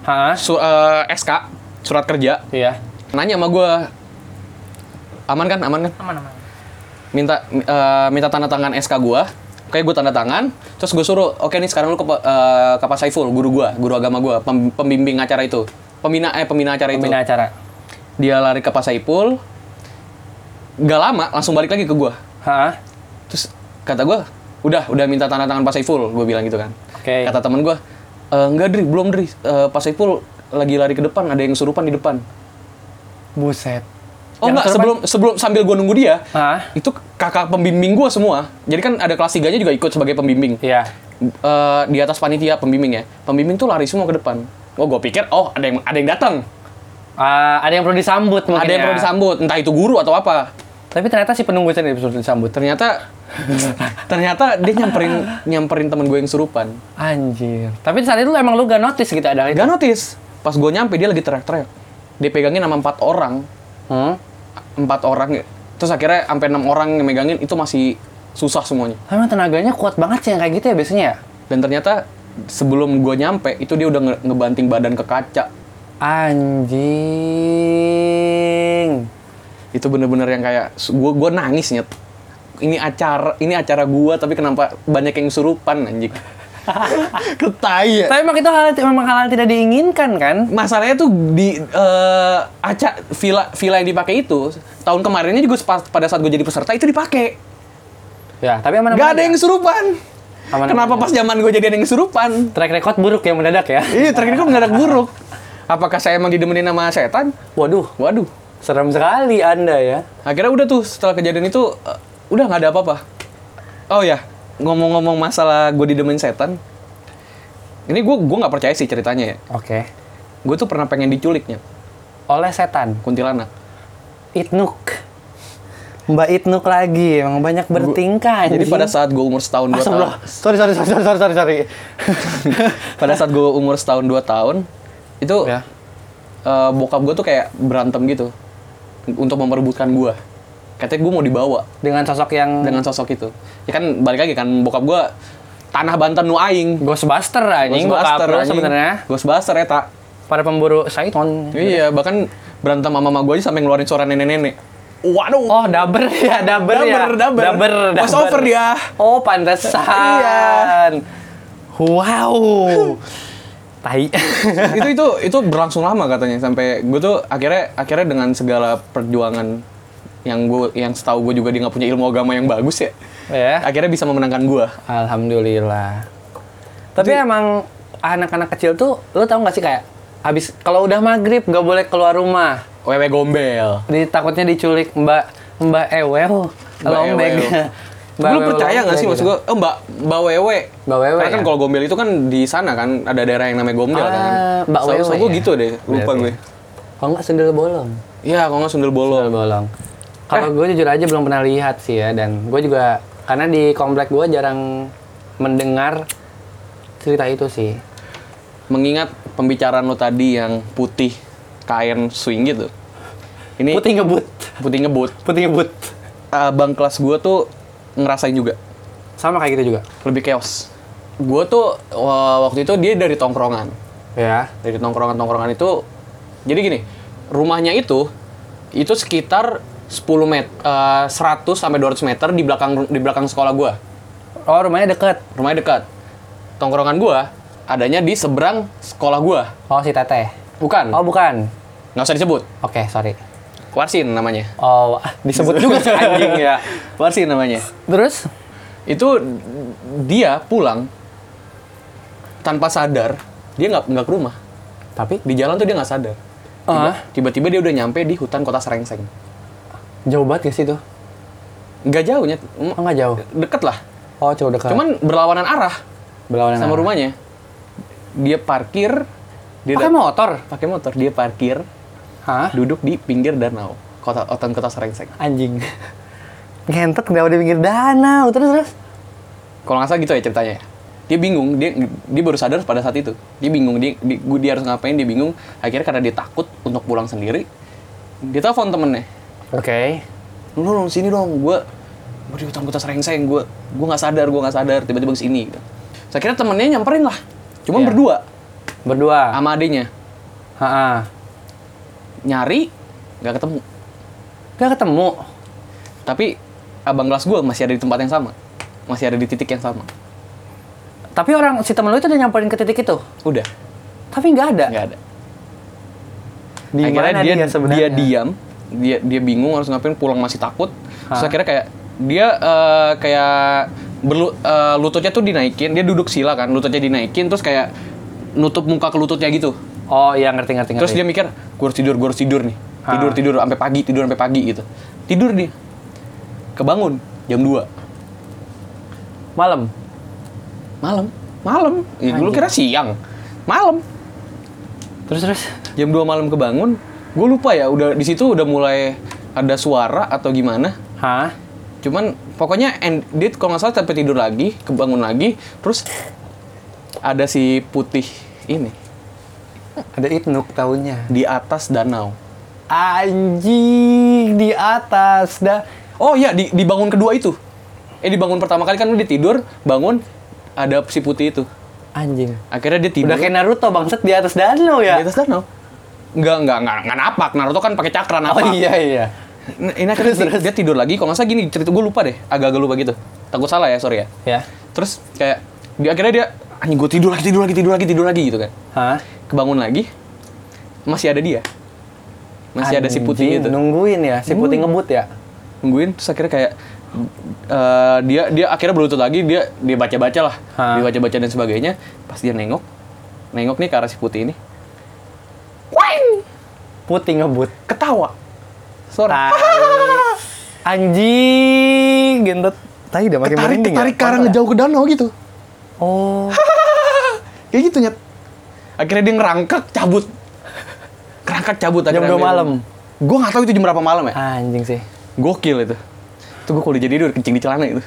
Speaker 2: Hah?
Speaker 3: su- eh, SK, surat kerja,
Speaker 2: Iya.
Speaker 3: nanya sama gue, aman kan, aman kan?
Speaker 1: aman aman
Speaker 3: Minta eh, minta tanda tangan SK gue, Oke, gue tanda tangan, terus gue suruh, oke nih sekarang lu ke, pa- eh, ke Pak Saiful, guru gue, guru agama gue, pembimbing acara itu, pembina eh pembina acara itu.
Speaker 2: Pembina acara.
Speaker 3: Dia lari ke Pak Saiful, gak lama langsung balik lagi ke gue.
Speaker 2: Hah?
Speaker 3: terus kata gue udah udah minta tanda tangan Pak Saiful gue bilang gitu kan
Speaker 2: Oke.
Speaker 3: kata temen gue "E, enggak Dri belum Dri E, Pak Saiful lagi lari ke depan ada yang surupan di depan
Speaker 2: Buset.
Speaker 3: oh
Speaker 2: Yang
Speaker 3: enggak
Speaker 2: kesurupan-
Speaker 3: sebelum
Speaker 2: Ah.
Speaker 3: sebelum sambil gue nunggu dia
Speaker 2: Hah?
Speaker 3: itu kakak pembimbing gue semua jadi kan ada kelas 3 nya juga ikut sebagai pembimbing
Speaker 2: Iya.
Speaker 3: E, di atas panitia pembimbing ya pembimbing tuh lari semua ke depan oh gue pikir oh ada yang ada yang datang
Speaker 2: Ah, ada yang perlu disambut mungkin
Speaker 3: ada yang
Speaker 2: ya.
Speaker 3: perlu disambut entah itu guru atau apa
Speaker 2: Tapi ternyata si penunggu itu yang perlu disambut.
Speaker 3: ternyata ternyata dia nyamperin nyamperin temen gue yang surupan
Speaker 2: Anjir. Tapi saat itu emang lu gak notice gitu ada hal
Speaker 3: Eh,
Speaker 2: itu.
Speaker 3: Gak notice. Pas gue nyampe dia lagi teriak-teriak. Dia pegangin sama empat orang,
Speaker 2: Hmm?
Speaker 3: empat orang. ya. Terus akhirnya sampai enam orang yang megangin itu masih susah semuanya.
Speaker 2: Emang tenaganya kuat banget sih yang kayak gitu ya biasanya ya?
Speaker 3: Dan ternyata sebelum gue nyampe itu dia udah nge- ngebanting badan ke kaca.
Speaker 2: Anjing.
Speaker 3: Itu bener-bener yang kayak gue gue nangis nyet. Ini acara ini acara gue tapi kenapa banyak yang surupan anjing. Ketai ya.
Speaker 2: Tapi emang itu hal memang hal yang tidak diinginkan kan?
Speaker 3: masalahnya tuh di eh acak villa villa yang dipakai itu tahun kemarinnya juga sepa- pada saat gue jadi peserta itu dipakai
Speaker 2: Ya, tapi aman
Speaker 3: Gak ada yang surupan.
Speaker 2: Aman-aman
Speaker 3: Kenapa
Speaker 2: aja.
Speaker 3: pas zaman gue jadi ada yang surupan?
Speaker 2: track record buruk ya mendadak ya.
Speaker 3: Iya, terakhir kan mendadak buruk. Apakah saya emang didemenin sama setan?
Speaker 2: Waduh,
Speaker 3: Waduh.
Speaker 2: serem sekali Anda ya.
Speaker 3: Akhirnya udah tuh setelah kejadian itu eh, udah nggak ada apa-apa. Oh ya, ngomong-ngomong masalah gue didemenin setan. Ini gue gue nggak percaya sih ceritanya ya.
Speaker 2: Oke.
Speaker 3: Gue tuh pernah pengen diculiknya
Speaker 2: Oleh setan,
Speaker 3: kuntilanak.
Speaker 2: Itnuk. Mbak Itnuk lagi, emang banyak bertingkah.
Speaker 3: Jadi
Speaker 2: anjing.
Speaker 3: pada saat gue umur setahun dua tahun,
Speaker 2: Astagfirullah. Sorry, sorry, sorry, sorry, sorry, sorry.
Speaker 3: pada saat gue umur setahun dua tahun itu
Speaker 2: Ya.
Speaker 3: eh, bokap gue tuh kayak berantem gitu untuk memperebutkan gue katanya gue mau dibawa
Speaker 2: Dengan sosok yang
Speaker 3: dengan sosok itu ya kan balik lagi kan bokap gue tanah Banten nu aing
Speaker 2: Ghostbuster anjing,
Speaker 3: Ghostbuster,
Speaker 2: bokap lu
Speaker 3: anjing.
Speaker 2: sebenarnya.
Speaker 3: Ghostbuster eta
Speaker 2: Para pemburu Saiton.
Speaker 3: iya bahkan berantem sama mama gue aja sampai ngeluarin suara nenek-nenek waduh
Speaker 2: Oh, daber ya, daber, ya.
Speaker 3: Daber, daber.
Speaker 2: daber,
Speaker 3: Crossover dia.
Speaker 2: Oh, pantesan.
Speaker 3: Iya.
Speaker 2: Wow. tai.
Speaker 3: itu itu itu berlangsung lama katanya sampai gue tuh akhirnya akhirnya dengan segala perjuangan yang gue yang setahu gue juga dia nggak punya ilmu agama yang bagus ya
Speaker 2: ya.
Speaker 3: akhirnya bisa memenangkan gue
Speaker 2: Alhamdulillah. Tapi emang anak-anak kecil tuh, lu tau gak sih kayak habis kalau udah maghrib gak boleh keluar rumah,
Speaker 3: wewe gombel
Speaker 2: Di- takutnya diculik Mbak Mbak Ewel,
Speaker 3: Mbak
Speaker 2: lombek.
Speaker 3: Ewel.
Speaker 2: Mbak
Speaker 3: lu
Speaker 2: Ewel
Speaker 3: percaya nggak sih
Speaker 2: lombek
Speaker 3: maksud
Speaker 2: gitu.
Speaker 3: gue, oh mbak, mbak Wewe.
Speaker 2: Mbak Wewe,
Speaker 3: Karena kan
Speaker 2: ya?
Speaker 3: kalau gombel itu kan di sana kan, ada daerah yang namanya gombel
Speaker 2: Ah,
Speaker 3: kan.
Speaker 2: Mbak
Speaker 3: Setahu-
Speaker 2: Wewe
Speaker 3: setahu gue
Speaker 2: ya?
Speaker 3: gitu deh, lupa
Speaker 2: Berarti.
Speaker 3: gue.
Speaker 2: Kalau nggak sendal bolong.
Speaker 3: Ya, kalau nggak sundel bolong. Eh.
Speaker 2: Sendal bolong. Kalau gue jujur aja belum pernah lihat sih ya dan gue juga karena di komplek gue jarang mendengar cerita itu sih.
Speaker 3: Mengingat pembicaraan lo tadi yang putih, kain swing gitu. Ini putih,
Speaker 2: Putih ngebut,
Speaker 3: Eh. ngebut.
Speaker 2: putih ngebut.
Speaker 3: Abang kelas gue tuh ngerasain juga,
Speaker 2: Sama kayak gitu juga.
Speaker 3: lebih chaos. Gue tuh wah, waktu itu dia dari tongkrongan.
Speaker 2: Ya.
Speaker 3: dari tongkrongan-tongkrongan itu jadi gini rumahnya itu itu sekitar 10 meter 100 sampai 200 meter di belakang di belakang sekolah gua
Speaker 2: Oh rumahnya deket.
Speaker 3: rumahnya dekat tongkrongan gua adanya di seberang sekolah gua
Speaker 2: Oh si Teteh.
Speaker 3: bukan
Speaker 2: Oh bukan.
Speaker 3: nggak usah disebut
Speaker 2: Oke sorry.
Speaker 3: warsin namanya
Speaker 2: Oh ah, disebut juga sih, anjing ya.
Speaker 3: warsin namanya
Speaker 2: Terus?
Speaker 3: itu dia pulang tanpa sadar dia nggak nggak ke rumah
Speaker 2: Tapi
Speaker 3: di jalan tuh dia nggak sadar Tiba-
Speaker 2: Ah.
Speaker 3: tiba-tiba dia udah nyampe di hutan kota Serengseng
Speaker 2: jauh banget gak sih itu?
Speaker 3: nggak jauhnya
Speaker 2: Oh nggak jauh.
Speaker 3: deket lah
Speaker 2: Oh, coba dekat.
Speaker 3: Cuman berlawanan arah
Speaker 2: Berlawanan
Speaker 3: sama
Speaker 2: arah.
Speaker 3: rumahnya. Dia parkir, dia
Speaker 2: Pakai
Speaker 3: dat-
Speaker 2: motor? Ah.
Speaker 3: pakai motor, dia parkir,
Speaker 2: Hah?
Speaker 3: duduk di pinggir danau, kota otan kota Serengseng.
Speaker 2: Anjing. Ngentet kenapa di pinggir danau? Terus terus.
Speaker 3: Kalau nggak salah gitu ya ceritanya. Dia bingung, dia dia baru sadar pada saat itu. Dia bingung, dia, dia, dia harus ngapain, dia bingung. Akhirnya karena dia takut untuk pulang sendiri, dia telepon temennya.
Speaker 2: Oke.
Speaker 3: lu dong sini dong gue gue di hutan kota serengseng gue gue nggak sadar gue nggak sadar tiba-tiba ke sini gitu. saya kira temennya nyamperin lah cuma
Speaker 2: Iya.
Speaker 3: berdua
Speaker 2: Berdua.
Speaker 3: sama adiknya
Speaker 2: Heeh.
Speaker 3: nyari nggak ketemu
Speaker 2: Gak ketemu.
Speaker 3: tapi abang kelas gue masih ada di tempat yang sama masih ada di titik yang sama
Speaker 2: Tapi orang si temen lu itu udah nyamperin ke titik itu.
Speaker 3: udah
Speaker 2: Tapi nggak ada.
Speaker 3: nggak ada
Speaker 2: Di
Speaker 3: akhirnya
Speaker 2: mana
Speaker 3: dia dia,
Speaker 2: sebenarnya?
Speaker 3: diam dia dia bingung harus ngapain pulang masih takut terus
Speaker 2: Hah?
Speaker 3: akhirnya kayak dia eh, kayak berlu, eh, lututnya tuh dinaikin dia duduk sila kan lututnya dinaikin terus kayak nutup muka ke lututnya gitu
Speaker 2: Oh iya ngerti ngerti ngerti.
Speaker 3: Terus dia mikir, gue harus tidur, gue harus tidur nih. Tidur,
Speaker 2: Ah.
Speaker 3: tidur, sampai pagi, tidur sampai pagi gitu. Tidur dia. Kebangun, jam 2.
Speaker 2: malam.
Speaker 3: Malam. Malam. Ya, dulu kira siang. Malam.
Speaker 2: Terus terus.
Speaker 3: Jam 2 malam kebangun. Gue lupa ya, udah di situ udah mulai ada suara atau gimana.
Speaker 2: Hah?
Speaker 3: Cuman pokoknya end, dia kalau nggak salah sampai tidur lagi, kebangun lagi. Terus ada si putih ini
Speaker 2: Ada itnuk tahunnya.
Speaker 3: di atas danau.
Speaker 2: Anjing di atas dah.
Speaker 3: Oh iya, di, di bangun kedua itu. Eh di bangun pertama kali kan dia tidur, bangun ada si putih itu.
Speaker 2: Anjing.
Speaker 3: Akhirnya dia tidur
Speaker 2: Udah kayak Naruto bangset di atas danau
Speaker 3: Iya. di
Speaker 2: ya.
Speaker 3: atas danau. Enggak, enggak, enggak, enggak napak. Naruto kan pakai cakra
Speaker 2: Oh
Speaker 3: napak.
Speaker 2: iya iya.
Speaker 3: Nah, Ini akhirnya dia, dia tidur lagi. Kalau nggak salah gini, cerita gue lupa deh. Agak-agak lupa gitu. Takut salah ya, sorry ya.
Speaker 2: Ya.
Speaker 3: Terus kayak, dia, akhirnya dia, anjing gue tidur lagi, tidur lagi, tidur lagi, tidur lagi gitu kan.
Speaker 2: Hah?
Speaker 3: Kebangun lagi, masih ada dia. Masih ada si putih
Speaker 2: Anjing,
Speaker 3: gitu.
Speaker 2: Nungguin ya, si putih ngebut ya.
Speaker 3: nungguin terus akhirnya kayak eh, dia dia akhirnya berlutut lagi dia dia baca baca lah
Speaker 2: Hah.
Speaker 3: dia baca baca dan sebagainya pas dia nengok nengok nih ke arah si putih ini
Speaker 2: Putih ngebut.
Speaker 3: ketawa suara
Speaker 2: Tai. Anjing, gentot. Tai udah makin
Speaker 3: tarik
Speaker 2: merinding
Speaker 3: tarik
Speaker 2: ya?
Speaker 3: karang
Speaker 2: Parah.
Speaker 3: jauh ke danau gitu
Speaker 2: Oh.
Speaker 3: kayak gitu nyet akhirnya dia ngerangkak cabut ngerangkak cabut
Speaker 2: Jam
Speaker 3: akhirnya
Speaker 2: dua malam.
Speaker 3: gue nggak tahu itu jam berapa malam ya
Speaker 2: Anjing sih.
Speaker 3: gokil itu itu gue kalau jadi udah kencing di celana itu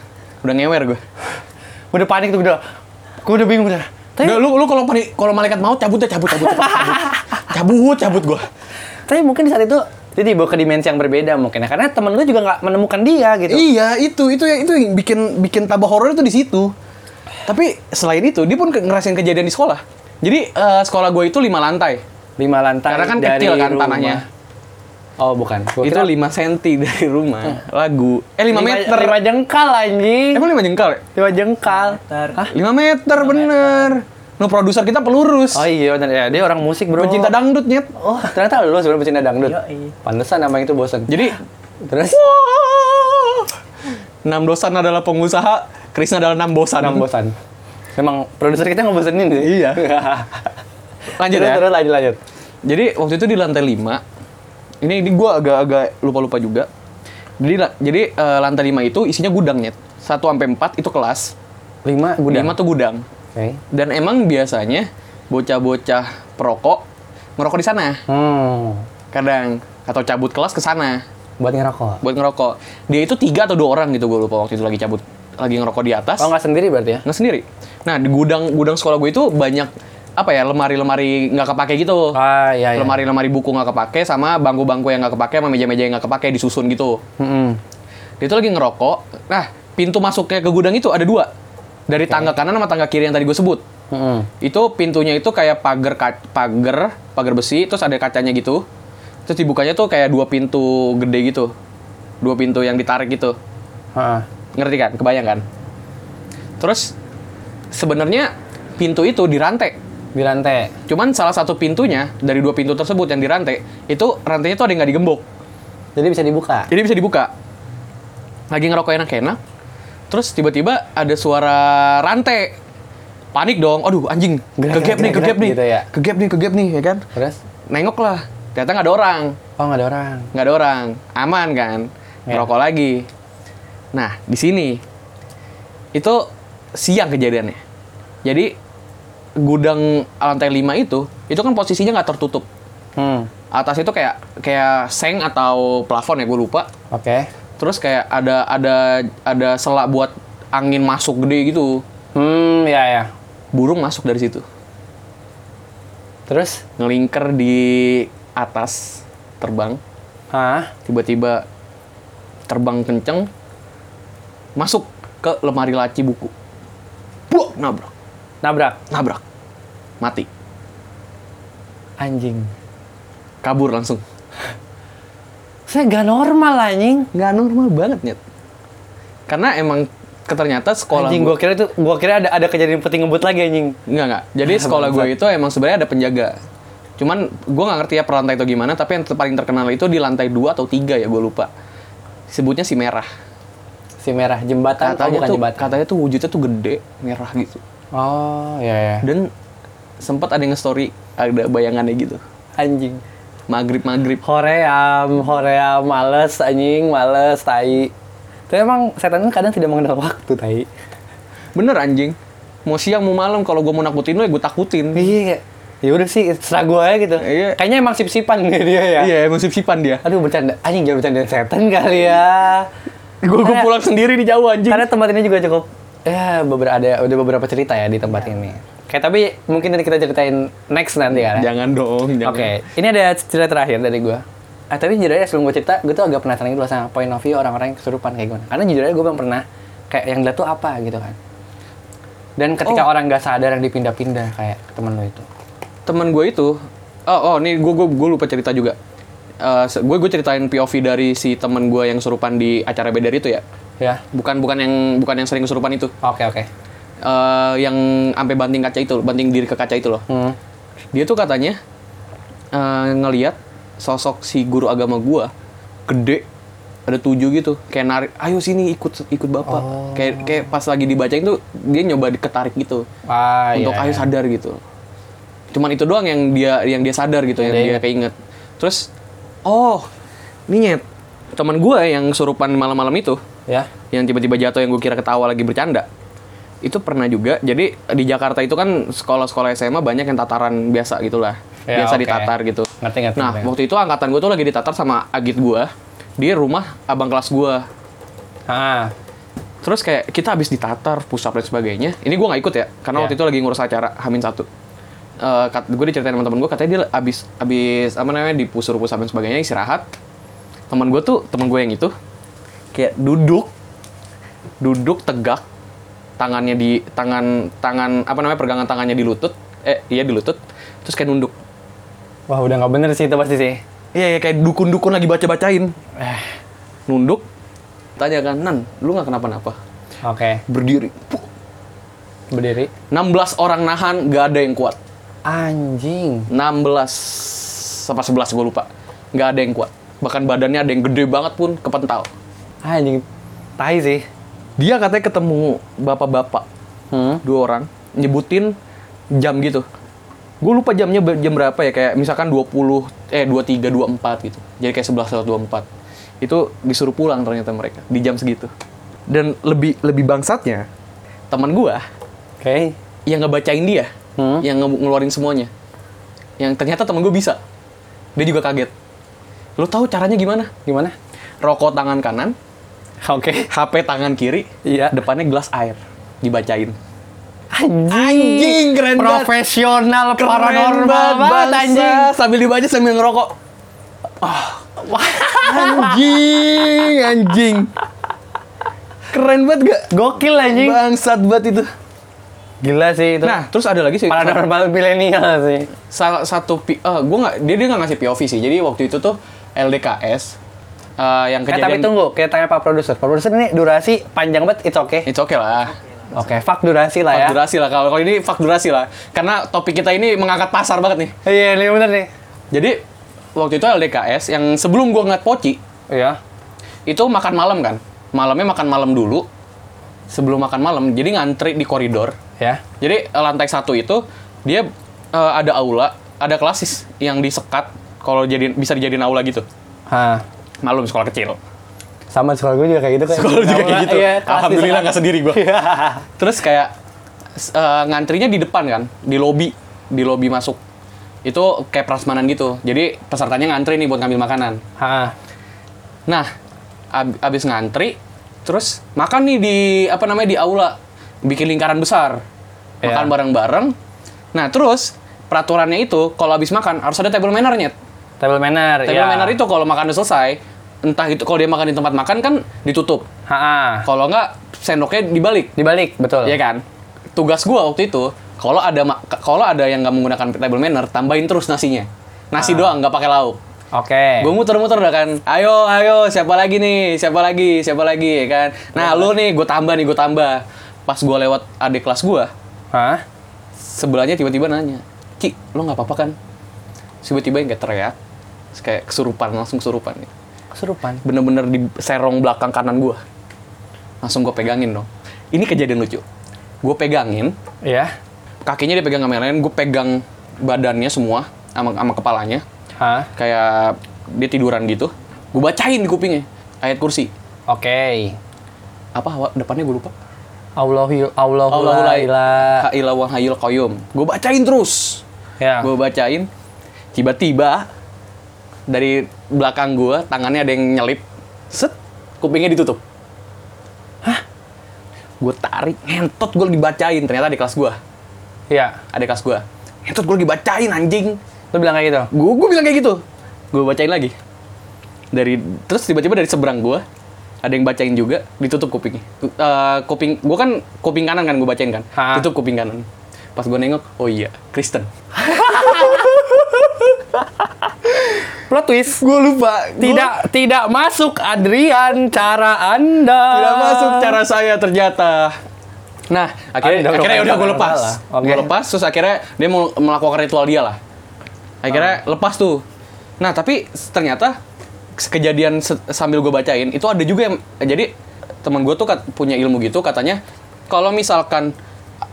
Speaker 3: udah ngewer gue
Speaker 2: Udah panik tuh udah. Gue udah bingung udah. Tapi,
Speaker 3: Udah, lu lu kalau pari- kalau malaikat mau cabut deh cabut cabut cabut cabut cabut, cabut gue
Speaker 2: tapi mungkin di saat itu dia dibawa ke dimensi yang berbeda mungkin ya. Karena temen lu juga nggak menemukan dia gitu.
Speaker 3: Iya, itu itu yang itu yang bikin bikin tambah horor itu di situ. Tapi selain itu, dia pun ke- ngerasain kejadian di sekolah. Jadi eh, sekolah gue itu lima lantai.
Speaker 2: Lima lantai
Speaker 3: Karena kan
Speaker 2: dari
Speaker 3: kecil kan
Speaker 2: rumah.
Speaker 3: tanahnya.
Speaker 2: Oh bukan. Gua
Speaker 3: itu
Speaker 2: kira
Speaker 3: lima senti dari rumah. Lagu. Eh lima meter.
Speaker 2: Lima jengkal anjing.
Speaker 3: Emang lima jengkal ya?
Speaker 2: Lima jengkal. Hah?
Speaker 3: Lima meter bener. No produser kita pelurus.
Speaker 2: Oh iya bener ya, dia orang musik bro.
Speaker 3: Pencinta dangdut nyet.
Speaker 2: Oh ternyata lu sebelum pecinta dangdut. Pantesan nama itu bosan.
Speaker 3: Jadi
Speaker 2: Terus
Speaker 3: wah, enam dosan adalah pengusaha, Krisna adalah enam bosan.
Speaker 2: nama bosan. Memang produser kita ngebosenin sih.
Speaker 3: Iya. Lanjut
Speaker 2: terus,
Speaker 3: ya.
Speaker 2: Terus lanjut lanjut.
Speaker 3: Jadi waktu itu di lantai 5 ini ini gue agak-agak lupa-lupa juga. Jadi la- jadi eh, lantai 5 itu isinya gudangnya. 1 sampai 4 itu kelas,
Speaker 2: Lima gudang.
Speaker 3: 5 tuh gudang.
Speaker 2: Oke.
Speaker 3: Dan emang biasanya bocah-bocah perokok ngerokok di sana
Speaker 2: Hmm.
Speaker 3: kadang atau cabut kelas ke sana
Speaker 2: Buat ngerokok.
Speaker 3: buat ngerokok. Dia itu tiga atau dua orang gitu gue lupa waktu itu lagi cabut lagi ngerokok di atas.
Speaker 2: Oh nggak sendiri berarti ya?
Speaker 3: nggak sendiri. Nah, di gudang gudang sekolah gue itu banyak apa ya lemari-lemari nggak kepake gitu.
Speaker 2: Ah iya iya.
Speaker 3: lemari-lemari buku nggak kepake sama bangku-bangku yang nggak kepake sama meja-meja yang nggak kepake disusun gitu
Speaker 2: Mm-mm.
Speaker 3: dia tuh lagi ngerokok nah pintu masuknya ke gudang itu ada dua dari tangga kanan sama tangga kiri yang tadi gue sebut
Speaker 2: Mm-mm.
Speaker 3: itu pintunya itu kayak pagar ka- pagar pagar besi terus ada kacanya gitu terus dibukanya tuh kayak dua pintu gede gitu dua pintu yang ditarik gitu
Speaker 2: Ha-ha.
Speaker 3: ngerti kan kebayang kan terus sebenarnya pintu itu dirantai
Speaker 2: Di lantai.
Speaker 3: Cuman salah satu pintunya dari dua pintu tersebut yang dirantai itu rantainya tuh ada yang nggak digembok,
Speaker 2: Jadi bisa dibuka.
Speaker 3: jadi bisa dibuka. Lagi ngerokok enak-enak, terus tiba-tiba ada suara rantai. Panik dong, aduh anjing,
Speaker 2: Gerak,
Speaker 3: kegap
Speaker 2: gerak,
Speaker 3: nih,
Speaker 2: gerak,
Speaker 3: kegap
Speaker 2: gerak
Speaker 3: nih,
Speaker 2: gitu ya.
Speaker 3: kegap nih, kegap nih, ya kan?
Speaker 2: Terus?
Speaker 3: Nengok lah, ternyata nggak ada orang,
Speaker 2: Oh nggak ada orang.
Speaker 3: nggak ada orang, aman kan?
Speaker 2: Ya.
Speaker 3: Ngerokok lagi. Nah di sini Itu siang kejadiannya. Jadi gudang lantai 5 itu, itu kan posisinya nggak tertutup.
Speaker 2: Hmm.
Speaker 3: Atas itu kayak kayak seng atau plafon ya gue lupa.
Speaker 2: Oke.
Speaker 3: Terus kayak ada ada ada selak buat angin masuk gede gitu.
Speaker 2: Hmm, ya ya.
Speaker 3: Burung masuk dari situ.
Speaker 2: Terus?
Speaker 3: Ngelingker di atas terbang.
Speaker 2: Hah?
Speaker 3: tiba-tiba terbang kenceng masuk ke lemari laci buku Buak, nabrak
Speaker 2: Nabrak.
Speaker 3: nabrak mati
Speaker 2: Anjing.
Speaker 3: kabur langsung
Speaker 2: Saya gak normal anjing.
Speaker 3: nggak normal banget nyet karena emang ternyata sekolah
Speaker 2: anjing
Speaker 3: gua-
Speaker 2: gua kira itu gua kira ada ada kejadian penting ngebut lagi anjing.
Speaker 3: Enggak, enggak. Jadi sekolah gue itu emang sebenarnya ada penjaga. Cuman gue nggak ngerti ya per lantai itu gimana, tapi yang ter- paling terkenal itu di lantai 2 atau 3 ya gue lupa. Sebutnya si merah.
Speaker 2: Si merah jembatan oh,
Speaker 3: Katanya
Speaker 2: bukan
Speaker 3: tuh
Speaker 2: jembatan.
Speaker 3: katanya tuh wujudnya tuh gede, merah gitu.
Speaker 2: Oh, ya ya.
Speaker 3: Dan sempat ada yang nge-story ada bayangannya gitu.
Speaker 2: Anjing.
Speaker 3: Maghrib maghrib.
Speaker 2: Hoream, hoream, males anjing, males tai. Tapi emang setan kan kadang tidak mengenal waktu tai.
Speaker 3: Bener anjing. Mau siang mau malam kalau gue mau nakutin lo ya gue takutin.
Speaker 2: Iya. Ya udah sih, serah gua aja gitu.
Speaker 3: Iya.
Speaker 2: Kayaknya emang sip-sipan dia ya.
Speaker 3: Iya emang sip-sipan dia.
Speaker 2: Aduh bercanda, anjing jangan bercanda setan kali ya.
Speaker 3: Gue
Speaker 2: Karena-
Speaker 3: pulang sendiri di jauh anjing.
Speaker 2: Karena tempat ini juga cukup ya beberapa ada udah beberapa cerita ya di tempat ini. Kayak tapi mungkin nanti kita ceritain next nanti ya.
Speaker 3: Jangan dong.
Speaker 2: Oke,
Speaker 3: Jangan.
Speaker 2: ini ada cerita terakhir dari gua. Ah, tapi jujur aja sebelum gue cerita, gue tuh agak penasaran gitu loh sama point of view orang-orang yang kesurupan kayak gimana. Karena jujur aja gue belum pernah kayak yang dilihat tuh apa gitu kan. Dan ketika
Speaker 3: Oh.
Speaker 2: orang nggak sadar yang dipindah-pindah kayak ke temen lo itu.
Speaker 3: teman gue itu oh oh nih gue gue lupa cerita juga Eh, gue gue ceritain POV dari si teman gue yang surupan di acara bedar itu ya
Speaker 2: Ya.
Speaker 3: bukan bukan yang bukan yang sering kesurupan itu
Speaker 2: Oke, oke.
Speaker 3: Eh, yang sampai banting kaca itu banting diri ke kaca itu loh
Speaker 2: Hmm.
Speaker 3: dia tuh katanya eh, ngeliat sosok si guru agama gue gede ada tujuh gitu kayak narik ayo sini ikut ikut bapak
Speaker 2: Oh.
Speaker 3: kayak kayak pas lagi dibacain tuh dia nyoba diketarik gitu
Speaker 2: Wah,
Speaker 3: untuk
Speaker 2: iya,
Speaker 3: ayo
Speaker 2: iya.
Speaker 3: sadar gitu. Cuman itu doang yang dia yang dia sadar gitu yang
Speaker 2: Dia
Speaker 3: dia
Speaker 2: ingat.
Speaker 3: keinget. Terus oh, ini nyet. Teman gue yang surupan malam-malam itu
Speaker 2: Ya.
Speaker 3: yang tiba-tiba jatuh yang gue kira ketawa lagi bercanda. Itu pernah juga. Jadi di Jakarta itu kan sekolah-sekolah SMA banyak yang tataran biasa gitulah.
Speaker 2: Ya,
Speaker 3: biasa
Speaker 2: oke.
Speaker 3: ditatar gitu.
Speaker 2: Ngerti, ngerti,
Speaker 3: Nah,
Speaker 2: ngerti.
Speaker 3: waktu itu angkatan gue tuh lagi ditatar sama agit gue di rumah abang kelas gue.
Speaker 2: Ah,
Speaker 3: Terus kayak kita habis ditatar, pusap dan sebagainya. Ini gue nggak ikut ya, karena
Speaker 2: Iya.
Speaker 3: waktu itu lagi ngurus acara Hamin satu. gue diceritain sama temen gue, katanya dia abis abis apa namanya dipusur pusap dan sebagainya istirahat. Temen gue tuh, temen gue yang itu kayak duduk, duduk tegak, tangannya di tangan tangan apa namanya pergangan tangannya di lutut, eh iya di lutut, terus kayak nunduk.
Speaker 2: wah udah nggak bener sih itu pasti sih.
Speaker 3: Iya, iya, kayak dukun-dukun lagi baca-bacain. Eh, nunduk, tanya kan, Nan, lu nggak kenapa-napa?
Speaker 2: Oke,
Speaker 3: Berdiri, Puh.
Speaker 2: berdiri.
Speaker 3: 16 orang nahan, nggak ada yang kuat.
Speaker 2: Anjing.
Speaker 3: 16 sama 11 gue lupa. Nggak ada yang kuat. Bahkan badannya ada yang gede banget pun kepental.
Speaker 2: Anjing. Ah, Tai sih.
Speaker 3: Dia katanya ketemu bapak-bapak,
Speaker 2: Hmm.
Speaker 3: dua orang, nyebutin jam gitu. Gue lupa jamnya ber- jam berapa ya, kayak misalkan 20, eh 23, 24 gitu. Jadi kayak 11 lewat 24. Itu disuruh pulang ternyata mereka, di jam segitu. Dan lebih lebih bangsatnya, teman gua
Speaker 2: Oke.
Speaker 3: yang ngebacain dia,
Speaker 2: Hmm.
Speaker 3: yang nge- ngeluarin semuanya. Yang ternyata temen gue bisa. Dia juga kaget. Lu tahu caranya gimana?
Speaker 2: Gimana?
Speaker 3: Rokok tangan kanan,
Speaker 2: Oke.
Speaker 3: HP tangan kiri,
Speaker 2: Iya.
Speaker 3: depannya gelas air dibacain.
Speaker 2: Anjing.
Speaker 3: Anjing, keren banget.
Speaker 2: Profesional
Speaker 3: Keren
Speaker 2: paranormal banget
Speaker 3: bangsa.
Speaker 2: anjing.
Speaker 3: Sambil dibaca sambil ngerokok. Ah, anjing, anjing. Keren banget gak?
Speaker 2: Gokil anjing.
Speaker 3: Bangsat banget itu.
Speaker 2: Gila sih itu.
Speaker 3: Nah, terus ada lagi sih.
Speaker 2: paranormal milenial sih.
Speaker 3: salah satu pi- eh, gua nggak dia dia nggak ngasih POV sih jadi waktu itu tuh LDKS eh, yang
Speaker 2: Eh tapi
Speaker 3: kejadian
Speaker 2: tunggu, kita tanya Pak Produser. Pak Produser ini durasi panjang banget, it's okay.
Speaker 3: itu oke lah
Speaker 2: Oke, fuck durasi lah
Speaker 3: Fak
Speaker 2: ya.
Speaker 3: durasi lah kalau kalau ini fak durasi lah karena topik kita ini mengangkat pasar banget nih
Speaker 2: Iya, ini bener nih.
Speaker 3: jadi waktu itu LDKS yang sebelum gua ngeliat poci
Speaker 2: Iya.
Speaker 3: itu makan malam kan malamnya makan malam dulu sebelum makan malam jadi ngantri di koridor
Speaker 2: Ya.
Speaker 3: Jadi eh, lantai satu itu dia eh, ada aula, ada kelasis yang disekat kalau jadi bisa dijadiin aula gitu.
Speaker 2: Ha.
Speaker 3: Malum sekolah kecil.
Speaker 2: sama sekolah gue juga kayak gitu kan.
Speaker 3: Sekolah juga kayak gitu.
Speaker 2: Iya, kelas
Speaker 3: Alhamdulillah
Speaker 2: diserang.
Speaker 3: nggak sendiri gua.
Speaker 2: Iya.
Speaker 3: Terus kayak s- eh, ngantrinya di depan kan, di lobi, di lobi masuk. Itu kayak prasmanan gitu. Jadi pesertanya ngantri nih buat ngambil makanan.
Speaker 2: Ha.
Speaker 3: Nah, ab- abis ngantri, terus makan nih di apa namanya di aula, bikin lingkaran besar,
Speaker 2: Iya.
Speaker 3: makan bareng-bareng. Nah, terus peraturannya itu kalau abis makan harus ada table mannernya.
Speaker 2: Table manner.
Speaker 3: Table
Speaker 2: iya.
Speaker 3: manner itu kalau makan udah selesai, entah itu kalau dia makan di tempat makan kan ditutup.
Speaker 2: Ha. ha.
Speaker 3: Kalau nggak sendoknya dibalik.
Speaker 2: Dibalik, betul.
Speaker 3: Iya kan? Tugas gua waktu itu kalau ada ma- kalau ada yang nggak menggunakan table manner, tambahin terus nasinya. Nasi doang nggak pakai lauk.
Speaker 2: Oke.
Speaker 3: Gue muter-muter udah kan, ayo, ayo, siapa lagi nih, siapa lagi, siapa lagi, ya kan. Nah, lu nih, gue tambah nih, gue tambah. Pas gue lewat adik kelas gue,
Speaker 2: Hah?
Speaker 3: sebelahnya tiba-tiba nanya, Ki, lo nggak apa-apa kan? Terus Tiba-tiba yang kayak teriak, Terus kayak kesurupan, langsung kesurupan. nih.
Speaker 2: Kesurupan.
Speaker 3: Bener-bener di serong belakang kanan gue. Langsung gue pegangin dong. Ini kejadian lucu. Gue pegangin,
Speaker 2: Iya.
Speaker 3: kakinya dia pegang sama yang lain, gue pegang badannya semua, sama, sama kepalanya
Speaker 2: Hah?
Speaker 3: kayak dia tiduran gitu gue bacain di kupingnya ayat kursi
Speaker 2: Oke.
Speaker 3: apa wa- depannya gue lupa
Speaker 2: Allahu Allahu
Speaker 3: Allahu
Speaker 2: la
Speaker 3: la
Speaker 2: ilaha.
Speaker 3: ilaha wa hayyul qayyum gue bacain terus
Speaker 2: Ya.
Speaker 3: gue bacain tiba-tiba dari belakang gue tangannya ada yang nyelip set kupingnya ditutup hah gue tarik ngentot gue dibacain ternyata di kelas gue
Speaker 2: Iya.
Speaker 3: ada kelas gue ngentot gue dibacain anjing
Speaker 2: Lu bilang kayak gitu.
Speaker 3: gue gue bilang kayak gitu gue bacain lagi dari terus tiba-tiba dari seberang gue ada yang bacain juga ditutup kupingnya Eh, kuping gue kan kuping kanan kan gue bacain kan
Speaker 2: Ha.
Speaker 3: tutup kuping kanan pas gue nengok oh iya Kristen
Speaker 2: Plot twist. Gue lupa. Tidak tidak masuk Adrian cara Anda.
Speaker 3: tidak masuk cara saya ternyata nah akhirnya
Speaker 2: Ada dong,
Speaker 3: akhirnya
Speaker 2: ada
Speaker 3: udah gue
Speaker 2: dong,
Speaker 3: lepas
Speaker 2: salah. Oke.
Speaker 3: gue lepas terus akhirnya dia mau melakukan ritual dia lah akhirnya
Speaker 2: Ah.
Speaker 3: lepas tuh nah tapi ternyata kejadian se- sambil gue bacain itu ada juga yang jadi teman gue tuh kat- punya ilmu gitu katanya kalau misalkan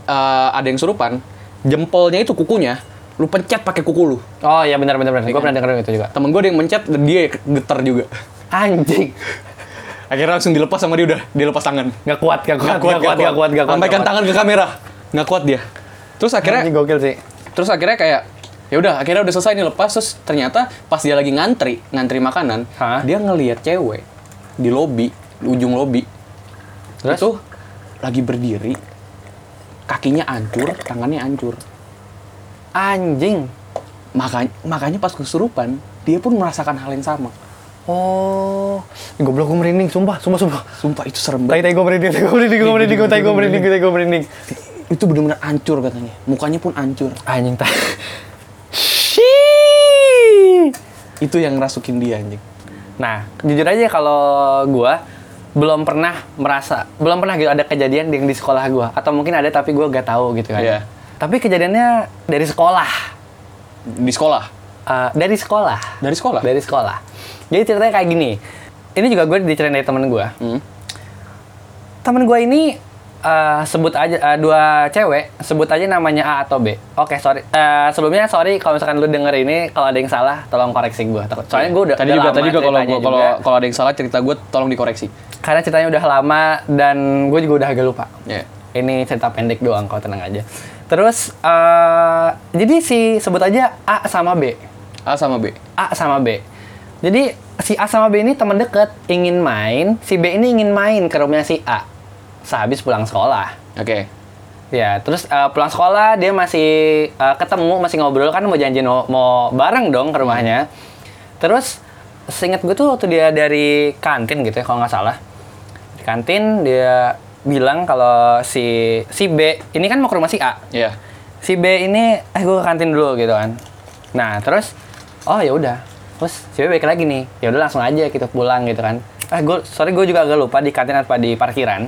Speaker 3: uh, ada yang surupan jempolnya itu kukunya lu pencet pakai kuku lu
Speaker 2: Oh iya benar benar benar. Gue pernah dengerin itu juga.
Speaker 3: temen gue ada yang mencet dan dia getar juga
Speaker 2: Anjing.
Speaker 3: akhirnya langsung dilepas sama dia udah dilepas tangan
Speaker 2: Gak kuat, gak kuat,
Speaker 3: Gak kuat, gak
Speaker 2: gak kuat, gak kuat.
Speaker 3: Sampaikan tangan ke kamera. Nggak kuat dia. Terus akhirnya
Speaker 2: Anjing gokil sih.
Speaker 3: terus akhirnya kayak ya udah akhirnya udah selesai nih lepas terus ternyata pas dia lagi ngantri ngantri makanan
Speaker 2: Hah?
Speaker 3: dia ngelihat cewek di lobi di ujung lobi
Speaker 2: Terus?
Speaker 3: itu lagi berdiri kakinya hancur tangannya hancur
Speaker 2: Anjing.
Speaker 3: makanya makanya pas kesurupan dia pun merasakan hal yang sama
Speaker 2: Oh. Goblok gue merinding, sumpah, sumpah, sumpah.
Speaker 3: sumpah itu serem
Speaker 2: Tai
Speaker 3: banget
Speaker 2: tai gue merinding, tai gue merinding, gue merinding, gue tai gue merinding, tai gue merinding.
Speaker 3: itu benar-benar hancur katanya mukanya pun hancur
Speaker 2: Anjing tai.
Speaker 3: itu yang ngerasukin dia anjing
Speaker 2: Nah, jujur aja kalau gua belum pernah merasa, belum pernah gitu ada kejadian yang di sekolah gua atau mungkin ada tapi gua gak tahu gitu kan.
Speaker 3: Iya.
Speaker 2: Tapi kejadiannya dari sekolah,
Speaker 3: di sekolah
Speaker 2: Eh, dari sekolah,
Speaker 3: dari sekolah
Speaker 2: dari sekolah. Jadi ceritanya kayak gini. Ini juga gue diceritain dari temen gua.
Speaker 3: Hmm.
Speaker 2: Temen gua ini eh, sebut aja eh, dua cewek, sebut aja namanya A atau B. Oke, sorry. Eh, sebelumnya sorry kalau misalkan lu denger ini kalau ada yang salah tolong koreksi gua. Soalnya gua udah
Speaker 3: tadi
Speaker 2: udah
Speaker 3: juga
Speaker 2: lama
Speaker 3: tadi juga kalau
Speaker 2: ceritanya
Speaker 3: gua- kalau
Speaker 2: juga.
Speaker 3: kalau ada yang salah cerita gue tolong dikoreksi
Speaker 2: karena ceritanya udah lama dan gue juga udah agak lupa.
Speaker 3: ya
Speaker 2: Ini cerita pendek doang, kau tenang aja. Terus, eh, jadi si sebut aja A sama B.
Speaker 3: A sama B
Speaker 2: A sama B. Jadi si A sama B ini teman deket, ingin main. Si B ini ingin main ke rumahnya si A. Sehabis pulang sekolah.
Speaker 3: oke
Speaker 2: Ya, terus eh, pulang sekolah dia masih eh, ketemu, masih ngobrol kan mau janjian mau, mau bareng dong ke rumahnya. Terus seingat gue tuh waktu dia dari kantin gitu ya kalau nggak salah. Di kantin dia bilang kalau si si B ini kan mau ke rumah si A.
Speaker 3: ya
Speaker 2: Si B ini eh gue ke kantin dulu gitu kan. Nah, terus oh ya udah. Terus si B balik lagi nih. Ya udah langsung aja kita pulang gitu kan. Eh gue sorry gue juga agak lupa di kantin apa di parkiran.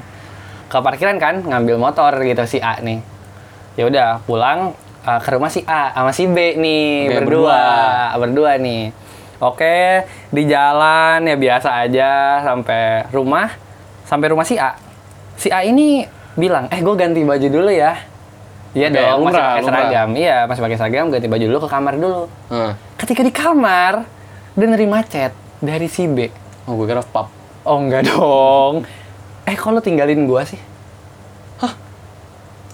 Speaker 2: Ke parkiran kan ngambil motor gitu si A nih. Ya udah pulang eh, ke rumah si A sama si B nih
Speaker 3: Oke,
Speaker 2: berdua. berdua nih. Oke, di jalan ya biasa aja sampai rumah sampai rumah si A. Si A ini bilang, "Eh, gue ganti baju dulu ya." Iya
Speaker 3: Oke,
Speaker 2: dong, masih
Speaker 3: lumrah,
Speaker 2: pakai
Speaker 3: lumrah.
Speaker 2: seragam. Iya, masih pakai seragam, ganti baju dulu ke kamar dulu.
Speaker 3: Heeh.
Speaker 2: Ketika di kamar, dia nerima chat dari si B.
Speaker 3: oh gue kira pap
Speaker 2: Oh enggak dong. Eh kok lu tinggalin gua sih?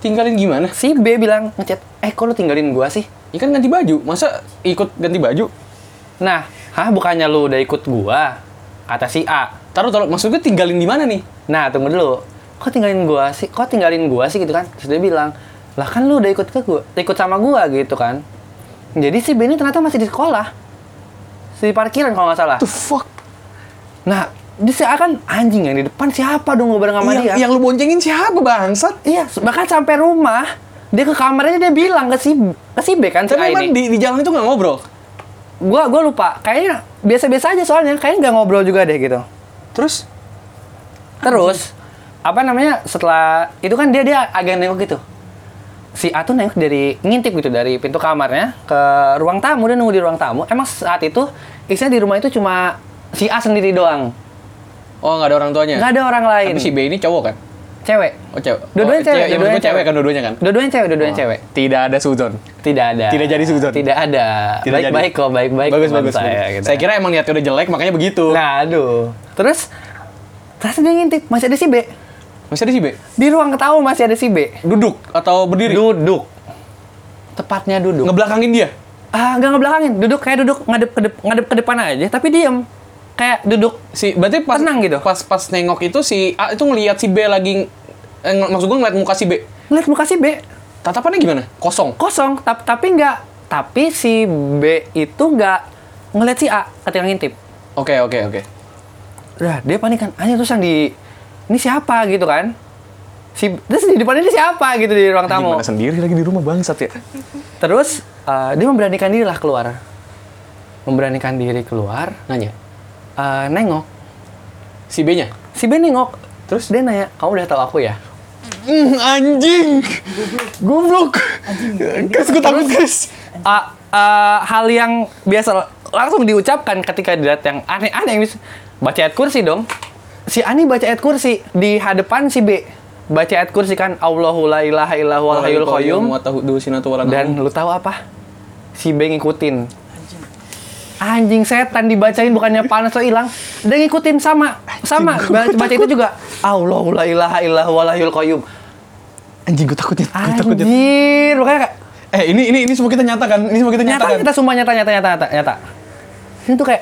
Speaker 3: Tinggalin gimana?
Speaker 2: Si B bilang ngechat, eh kok lu tinggalin gua sih?
Speaker 3: Ya kan ganti baju. Masa ikut ganti baju?
Speaker 2: Nah, hah bukannya lu udah ikut gua? Kata si A.
Speaker 3: Taruh taruh maksud gue tinggalin di mana nih?
Speaker 2: Nah, tunggu dulu. Kok tinggalin gua sih? Kok tinggalin gua sih gitu kan? Terus dia bilang, "Lah kan lu udah ikut ke gua, ikut sama gua gitu kan." Jadi si B ini ternyata masih di sekolah. Si parkiran kalau nggak salah.
Speaker 3: The fuck?
Speaker 2: Nah, dia si A kan anjing yang di depan siapa dong ngobrol sama dia?
Speaker 3: Yang, yang lu boncengin siapa bangsat?
Speaker 2: Iya, bahkan sampai rumah dia ke kamarnya dia bilang ke si ke si B kan si A
Speaker 3: Tapi emang
Speaker 2: ini.
Speaker 3: di, di jalan itu nggak ngobrol.
Speaker 2: Gua gua lupa. Kayaknya biasa-biasa aja soalnya kayaknya nggak ngobrol juga deh gitu.
Speaker 3: Terus
Speaker 2: Terus apa namanya setelah itu kan dia dia agak nengok gitu. Si A tuh nengok dari ngintip gitu dari pintu kamarnya ke ruang tamu dan nunggu di ruang tamu. Emang saat itu isinya di rumah itu cuma si A sendiri doang.
Speaker 3: Oh nggak ada orang tuanya.
Speaker 2: Nggak ada orang lain.
Speaker 3: Tapi si B ini cowok kan?
Speaker 2: Cewek.
Speaker 3: Oh cewek.
Speaker 2: Dua-duanya
Speaker 3: oh,
Speaker 2: cewek,
Speaker 3: Ya, maksud
Speaker 2: dua-duanya
Speaker 3: gue cewek
Speaker 2: cewek.
Speaker 3: kan dua-duanya kan?
Speaker 2: Dua-duanya cewek, dua-duanya cewek.
Speaker 3: Tidak ada suzon.
Speaker 2: Tidak ada.
Speaker 3: Tidak jadi suzon.
Speaker 2: Tidak ada.
Speaker 3: Tidak jadi.
Speaker 2: Baik-baik kok, baik-baik.
Speaker 3: bagus
Speaker 2: teman
Speaker 3: bagus.
Speaker 2: Saya,
Speaker 3: bagus.
Speaker 2: gitu.
Speaker 3: saya kira emang niatnya udah jelek makanya begitu.
Speaker 2: Nah, aduh. Terus terus dia ngintip, masih ada si B.
Speaker 3: Masih ada si B?
Speaker 2: Di ruang tamu masih ada si B.
Speaker 3: Duduk atau berdiri?
Speaker 2: Duduk. Tepatnya duduk.
Speaker 3: Ngebelakangin dia?
Speaker 2: Ah, nggak ngebelakangin, duduk kayak duduk ngadep ke dep- ngadep ke depan aja, tapi diem. Kayak duduk.
Speaker 3: Si berarti pas
Speaker 2: Tenang gitu.
Speaker 3: Pas pas nengok itu si A itu ngelihat si B lagi eh, ng- maksud gue ngeliat muka si B.
Speaker 2: Ngeliat muka si B
Speaker 3: Tatapannya gimana? Kosong.
Speaker 2: kosong, tap- tapi nggak tapi si B itu nggak ngeliat si A ketika ngintip.
Speaker 3: Oke oke oke.
Speaker 2: Udah, dia panik kan. Anjir terus yang di ini siapa gitu kan? Si terus di depannya ini siapa gitu di ruang tamu.
Speaker 3: Gimana sendiri lagi di rumah bangsat ya?
Speaker 2: Terus eh, dia memberanikan diri lah keluar. Memberanikan diri keluar,
Speaker 3: Nanya.
Speaker 2: eh, nengok.
Speaker 3: Si B-nya?
Speaker 2: Si B nengok. Terus dia nanya, "Kamu udah tahu aku ya?"
Speaker 3: Mm, anjing. Goblok. Guys, gue takut, guys.
Speaker 2: Uh, uh, hal yang biasa langsung diucapkan ketika dilihat yang aneh-aneh mis- baca ayat kursi dong si Ani baca ayat kursi di hadapan si B baca ayat kursi kan Allahu la ilaha illahu al hayyul qayyum
Speaker 3: wa tahudu sinatu wa la
Speaker 2: dan
Speaker 3: naum.
Speaker 2: lu tahu apa si B ngikutin anjing setan dibacain bukannya panas lo hilang dan ngikutin sama sama Ba- baca itu juga Allahu la ilaha illahu al hayyul qayyum
Speaker 3: anjing gue takut ya. Gue takut ya.
Speaker 2: anjir makanya kayak-
Speaker 3: Eh, ini ini ini semua kita nyatakan. Ini semua kita
Speaker 2: gitu nyata kan?
Speaker 3: nyatakan.
Speaker 2: nyata sumpah nyata nyata nyata nyata nyata ini tuh kayak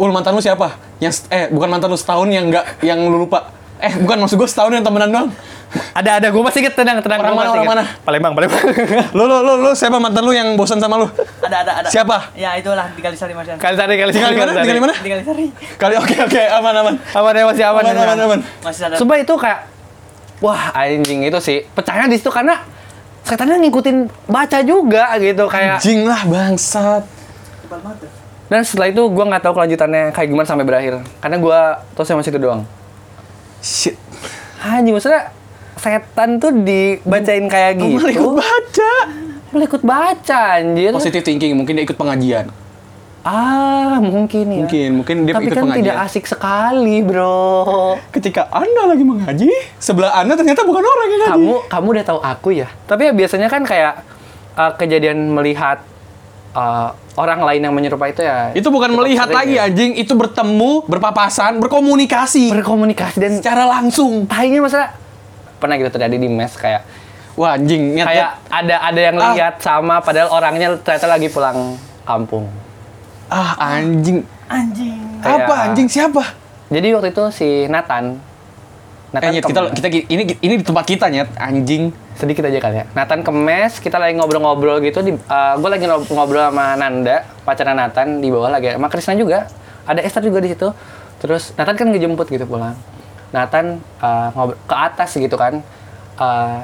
Speaker 3: Ul mantan lu siapa? Yang eh bukan mantan lu setahun yang enggak yang lu lupa. Eh bukan maksud gue setahun yang temenan doang.
Speaker 2: ada ada gue masih inget tenang tenang
Speaker 3: Orang
Speaker 2: gua
Speaker 3: mana,
Speaker 2: masih
Speaker 3: orang
Speaker 2: inget. Palembang Palembang
Speaker 3: Lu lu lu, lu siapa mantan lu yang bosan sama lu?
Speaker 1: ada ada ada
Speaker 3: Siapa?
Speaker 1: ya itulah di Kalisari Mas Yan
Speaker 2: kali tadi kali
Speaker 3: Tinggal di mana? Tinggal di mana?
Speaker 1: di Kalisari
Speaker 3: Kali oke oke aman aman.
Speaker 2: aman ya masih aman
Speaker 3: Aman aman aman.
Speaker 1: masih ada
Speaker 2: sumpah itu kayak wah anjing itu sih pecahnya di situ karena setannya ngikutin baca juga gitu kayak
Speaker 3: Jing lah bangsat.
Speaker 1: tebal banget tuh.
Speaker 2: dan setelah itu gue nggak tahu kelanjutannya kayak gimana sampai berakhir karena gue terus masih itu doang
Speaker 3: Shit.
Speaker 2: anjing maksudnya setan tuh dibacain kayak gitu
Speaker 3: Malah ikut baca.
Speaker 2: Malah ikut baca anjir
Speaker 3: Positive thinking mungkin dia ikut pengajian.
Speaker 2: Ah, mungkin ya.
Speaker 3: Mungkin, mungkin dia
Speaker 2: Tapi
Speaker 3: ikut
Speaker 2: kan
Speaker 3: pengajian.
Speaker 2: tidak asik sekali, Bro.
Speaker 3: Ketika Anda lagi mengaji, sebelah Anda ternyata bukan orang yang ngaji.
Speaker 2: Kamu kamu udah tahu aku ya. Tapi ya biasanya kan kayak uh, kejadian melihat uh, orang lain yang menyerupai itu ya.
Speaker 3: Itu bukan
Speaker 2: cukup
Speaker 3: melihat
Speaker 2: sering
Speaker 3: lagi
Speaker 2: ya.
Speaker 3: anjing, itu bertemu, berpapasan, berkomunikasi
Speaker 2: Berkomunikasi dan
Speaker 3: secara langsung.
Speaker 2: tahinya masa pernah gitu terjadi di mes kayak
Speaker 3: Wah anjing, nyet,
Speaker 2: kayak ada ada yang
Speaker 3: ya? Ah.
Speaker 2: lihat sama padahal orangnya ternyata lagi pulang kampung.
Speaker 3: Ah anjing.
Speaker 1: anjing
Speaker 2: Kayak-
Speaker 3: Apa anjing siapa?
Speaker 2: Jadi waktu itu si Nathan Nah,
Speaker 3: Eh,
Speaker 2: kan
Speaker 3: Nyet, kita
Speaker 2: kemana?
Speaker 3: kita ini ini di tempat kita nyet anjing.
Speaker 2: sedikit aja kali ya. Nathan kemes, kita lagi ngobrol-ngobrol gitu. Di, gue lagi ngob- ngobrol sama Nanda, pacarnya Nathan di bawah lagi. Sama Krisna juga. Ada Esther juga di situ. Terus Nathan kan ngejemput gitu pulang. Nathan eh, ngobrol ke atas gitu kan. Eh,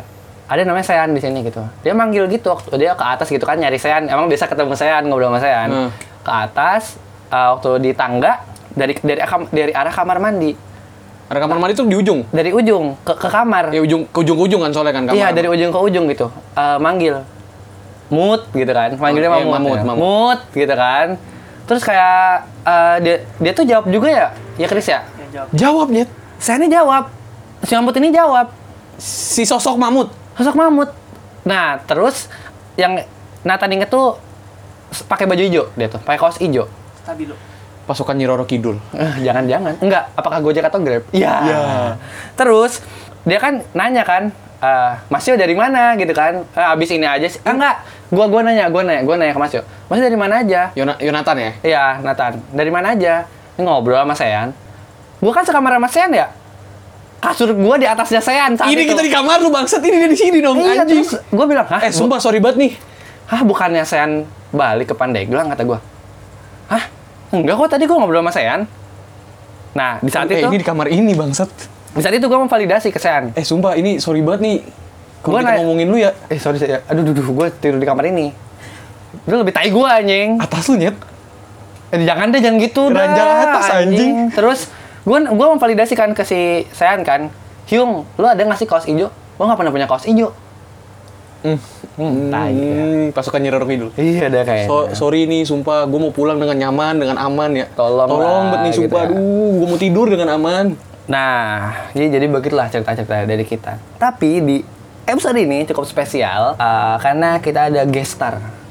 Speaker 2: ada namanya Sean di sini gitu. Dia manggil gitu waktu dia ke atas gitu kan nyari Sean. Emang biasa ketemu Sean, ngobrol sama Sean.
Speaker 3: Hmm.
Speaker 2: Ke atas eh, waktu di tangga dari dari akam- dari arah kamar mandi.
Speaker 3: Ada kamar mandi tuh di ujung.
Speaker 2: Dari ujung ke ke kamar.
Speaker 3: Ya ujung ke ujung-ujung kan soalnya kan kamar.
Speaker 2: Iya dari ujung ke ujung gitu, Eh, manggil, mut gitu kan,
Speaker 3: Oh,
Speaker 2: manggilnya sama
Speaker 3: iya,
Speaker 2: mut,
Speaker 3: mamut,
Speaker 2: ya.
Speaker 3: mamut.
Speaker 2: Mut, gitu kan. Terus kayak eh, dia dia tuh jawab juga ya, ya Chris ya.
Speaker 1: ya jawab
Speaker 3: Jawab nyet.
Speaker 2: Saya ini jawab, si mamut ini jawab,
Speaker 3: Si sosok mamut.
Speaker 2: sosok mamut. Nah terus yang Nathan inget tuh s- pakai baju hijau dia tuh, pakai kaos hijau.
Speaker 1: stabilo
Speaker 3: pasukan Nyiroro Kidul.
Speaker 2: Eh, Jangan-jangan. Enggak, apakah Gojek atau Grab? Iya.
Speaker 3: Iya.
Speaker 2: Terus, dia kan nanya kan, eh, Mas Yo dari mana gitu kan? Eh, abis ini aja sih. Ah, enggak, gua gua nanya, gua nanya, gua nanya ke Mas Yo. Mas Yo dari mana aja?
Speaker 3: Yona- Yonatan ya?
Speaker 2: Iya, Nathan. Dari mana aja? Ini ngobrol sama Sean. Gua kan sekamar sama Sean ya? Kasur gua di atasnya Sean saat
Speaker 3: ini
Speaker 2: itu.
Speaker 3: kita di kamar lu bangsat, ini dia di sini dong
Speaker 2: Iya,
Speaker 3: anjing.
Speaker 2: terus gua bilang, "Hah?
Speaker 3: eh, sumpah sorry banget nih.
Speaker 2: Hah, bukannya Sean balik ke Pandeglang kata gua. Hah? Enggak kok tadi gua ngobrol sama Sean. Nah, di saat
Speaker 3: eh,
Speaker 2: itu
Speaker 3: ini di kamar ini bangsat.
Speaker 2: di saat itu gua memvalidasi ke Sean.
Speaker 3: Eh, sumpah ini sorry banget nih. Kalau
Speaker 2: Gua
Speaker 3: kita
Speaker 2: nanya-
Speaker 3: ngomongin lu ya
Speaker 2: Eh, sorry saya. Aduh, duh, duh, gua tidur di kamar ini. Lu lebih tai gua anjing.
Speaker 3: atas lu nyet.
Speaker 2: Eh, jangan deh, jangan gitu dah,
Speaker 3: Ranjang atas, anjing.
Speaker 2: Terus gua gua memvalidasikan ke si Sean kan. Hyung, lu ada nggak sih kaos ijo? Gua nggak pernah punya kaos ijo. tai, ya.
Speaker 3: Hmm, pasukan Nyiroro Kidul.
Speaker 2: Iya, ada kayak.
Speaker 3: So- sorry nih, sumpah gue mau pulang dengan nyaman, dengan aman ya.
Speaker 2: Tolong
Speaker 3: Tolong
Speaker 2: lah,
Speaker 3: bet nih,
Speaker 2: gitu
Speaker 3: sumpah.
Speaker 2: ya.
Speaker 3: Aduh, gue mau tidur dengan aman.
Speaker 2: Nah, jadi jadi begitulah cerita-cerita dari kita. Tapi di episode ini cukup spesial eh, karena kita ada guest star.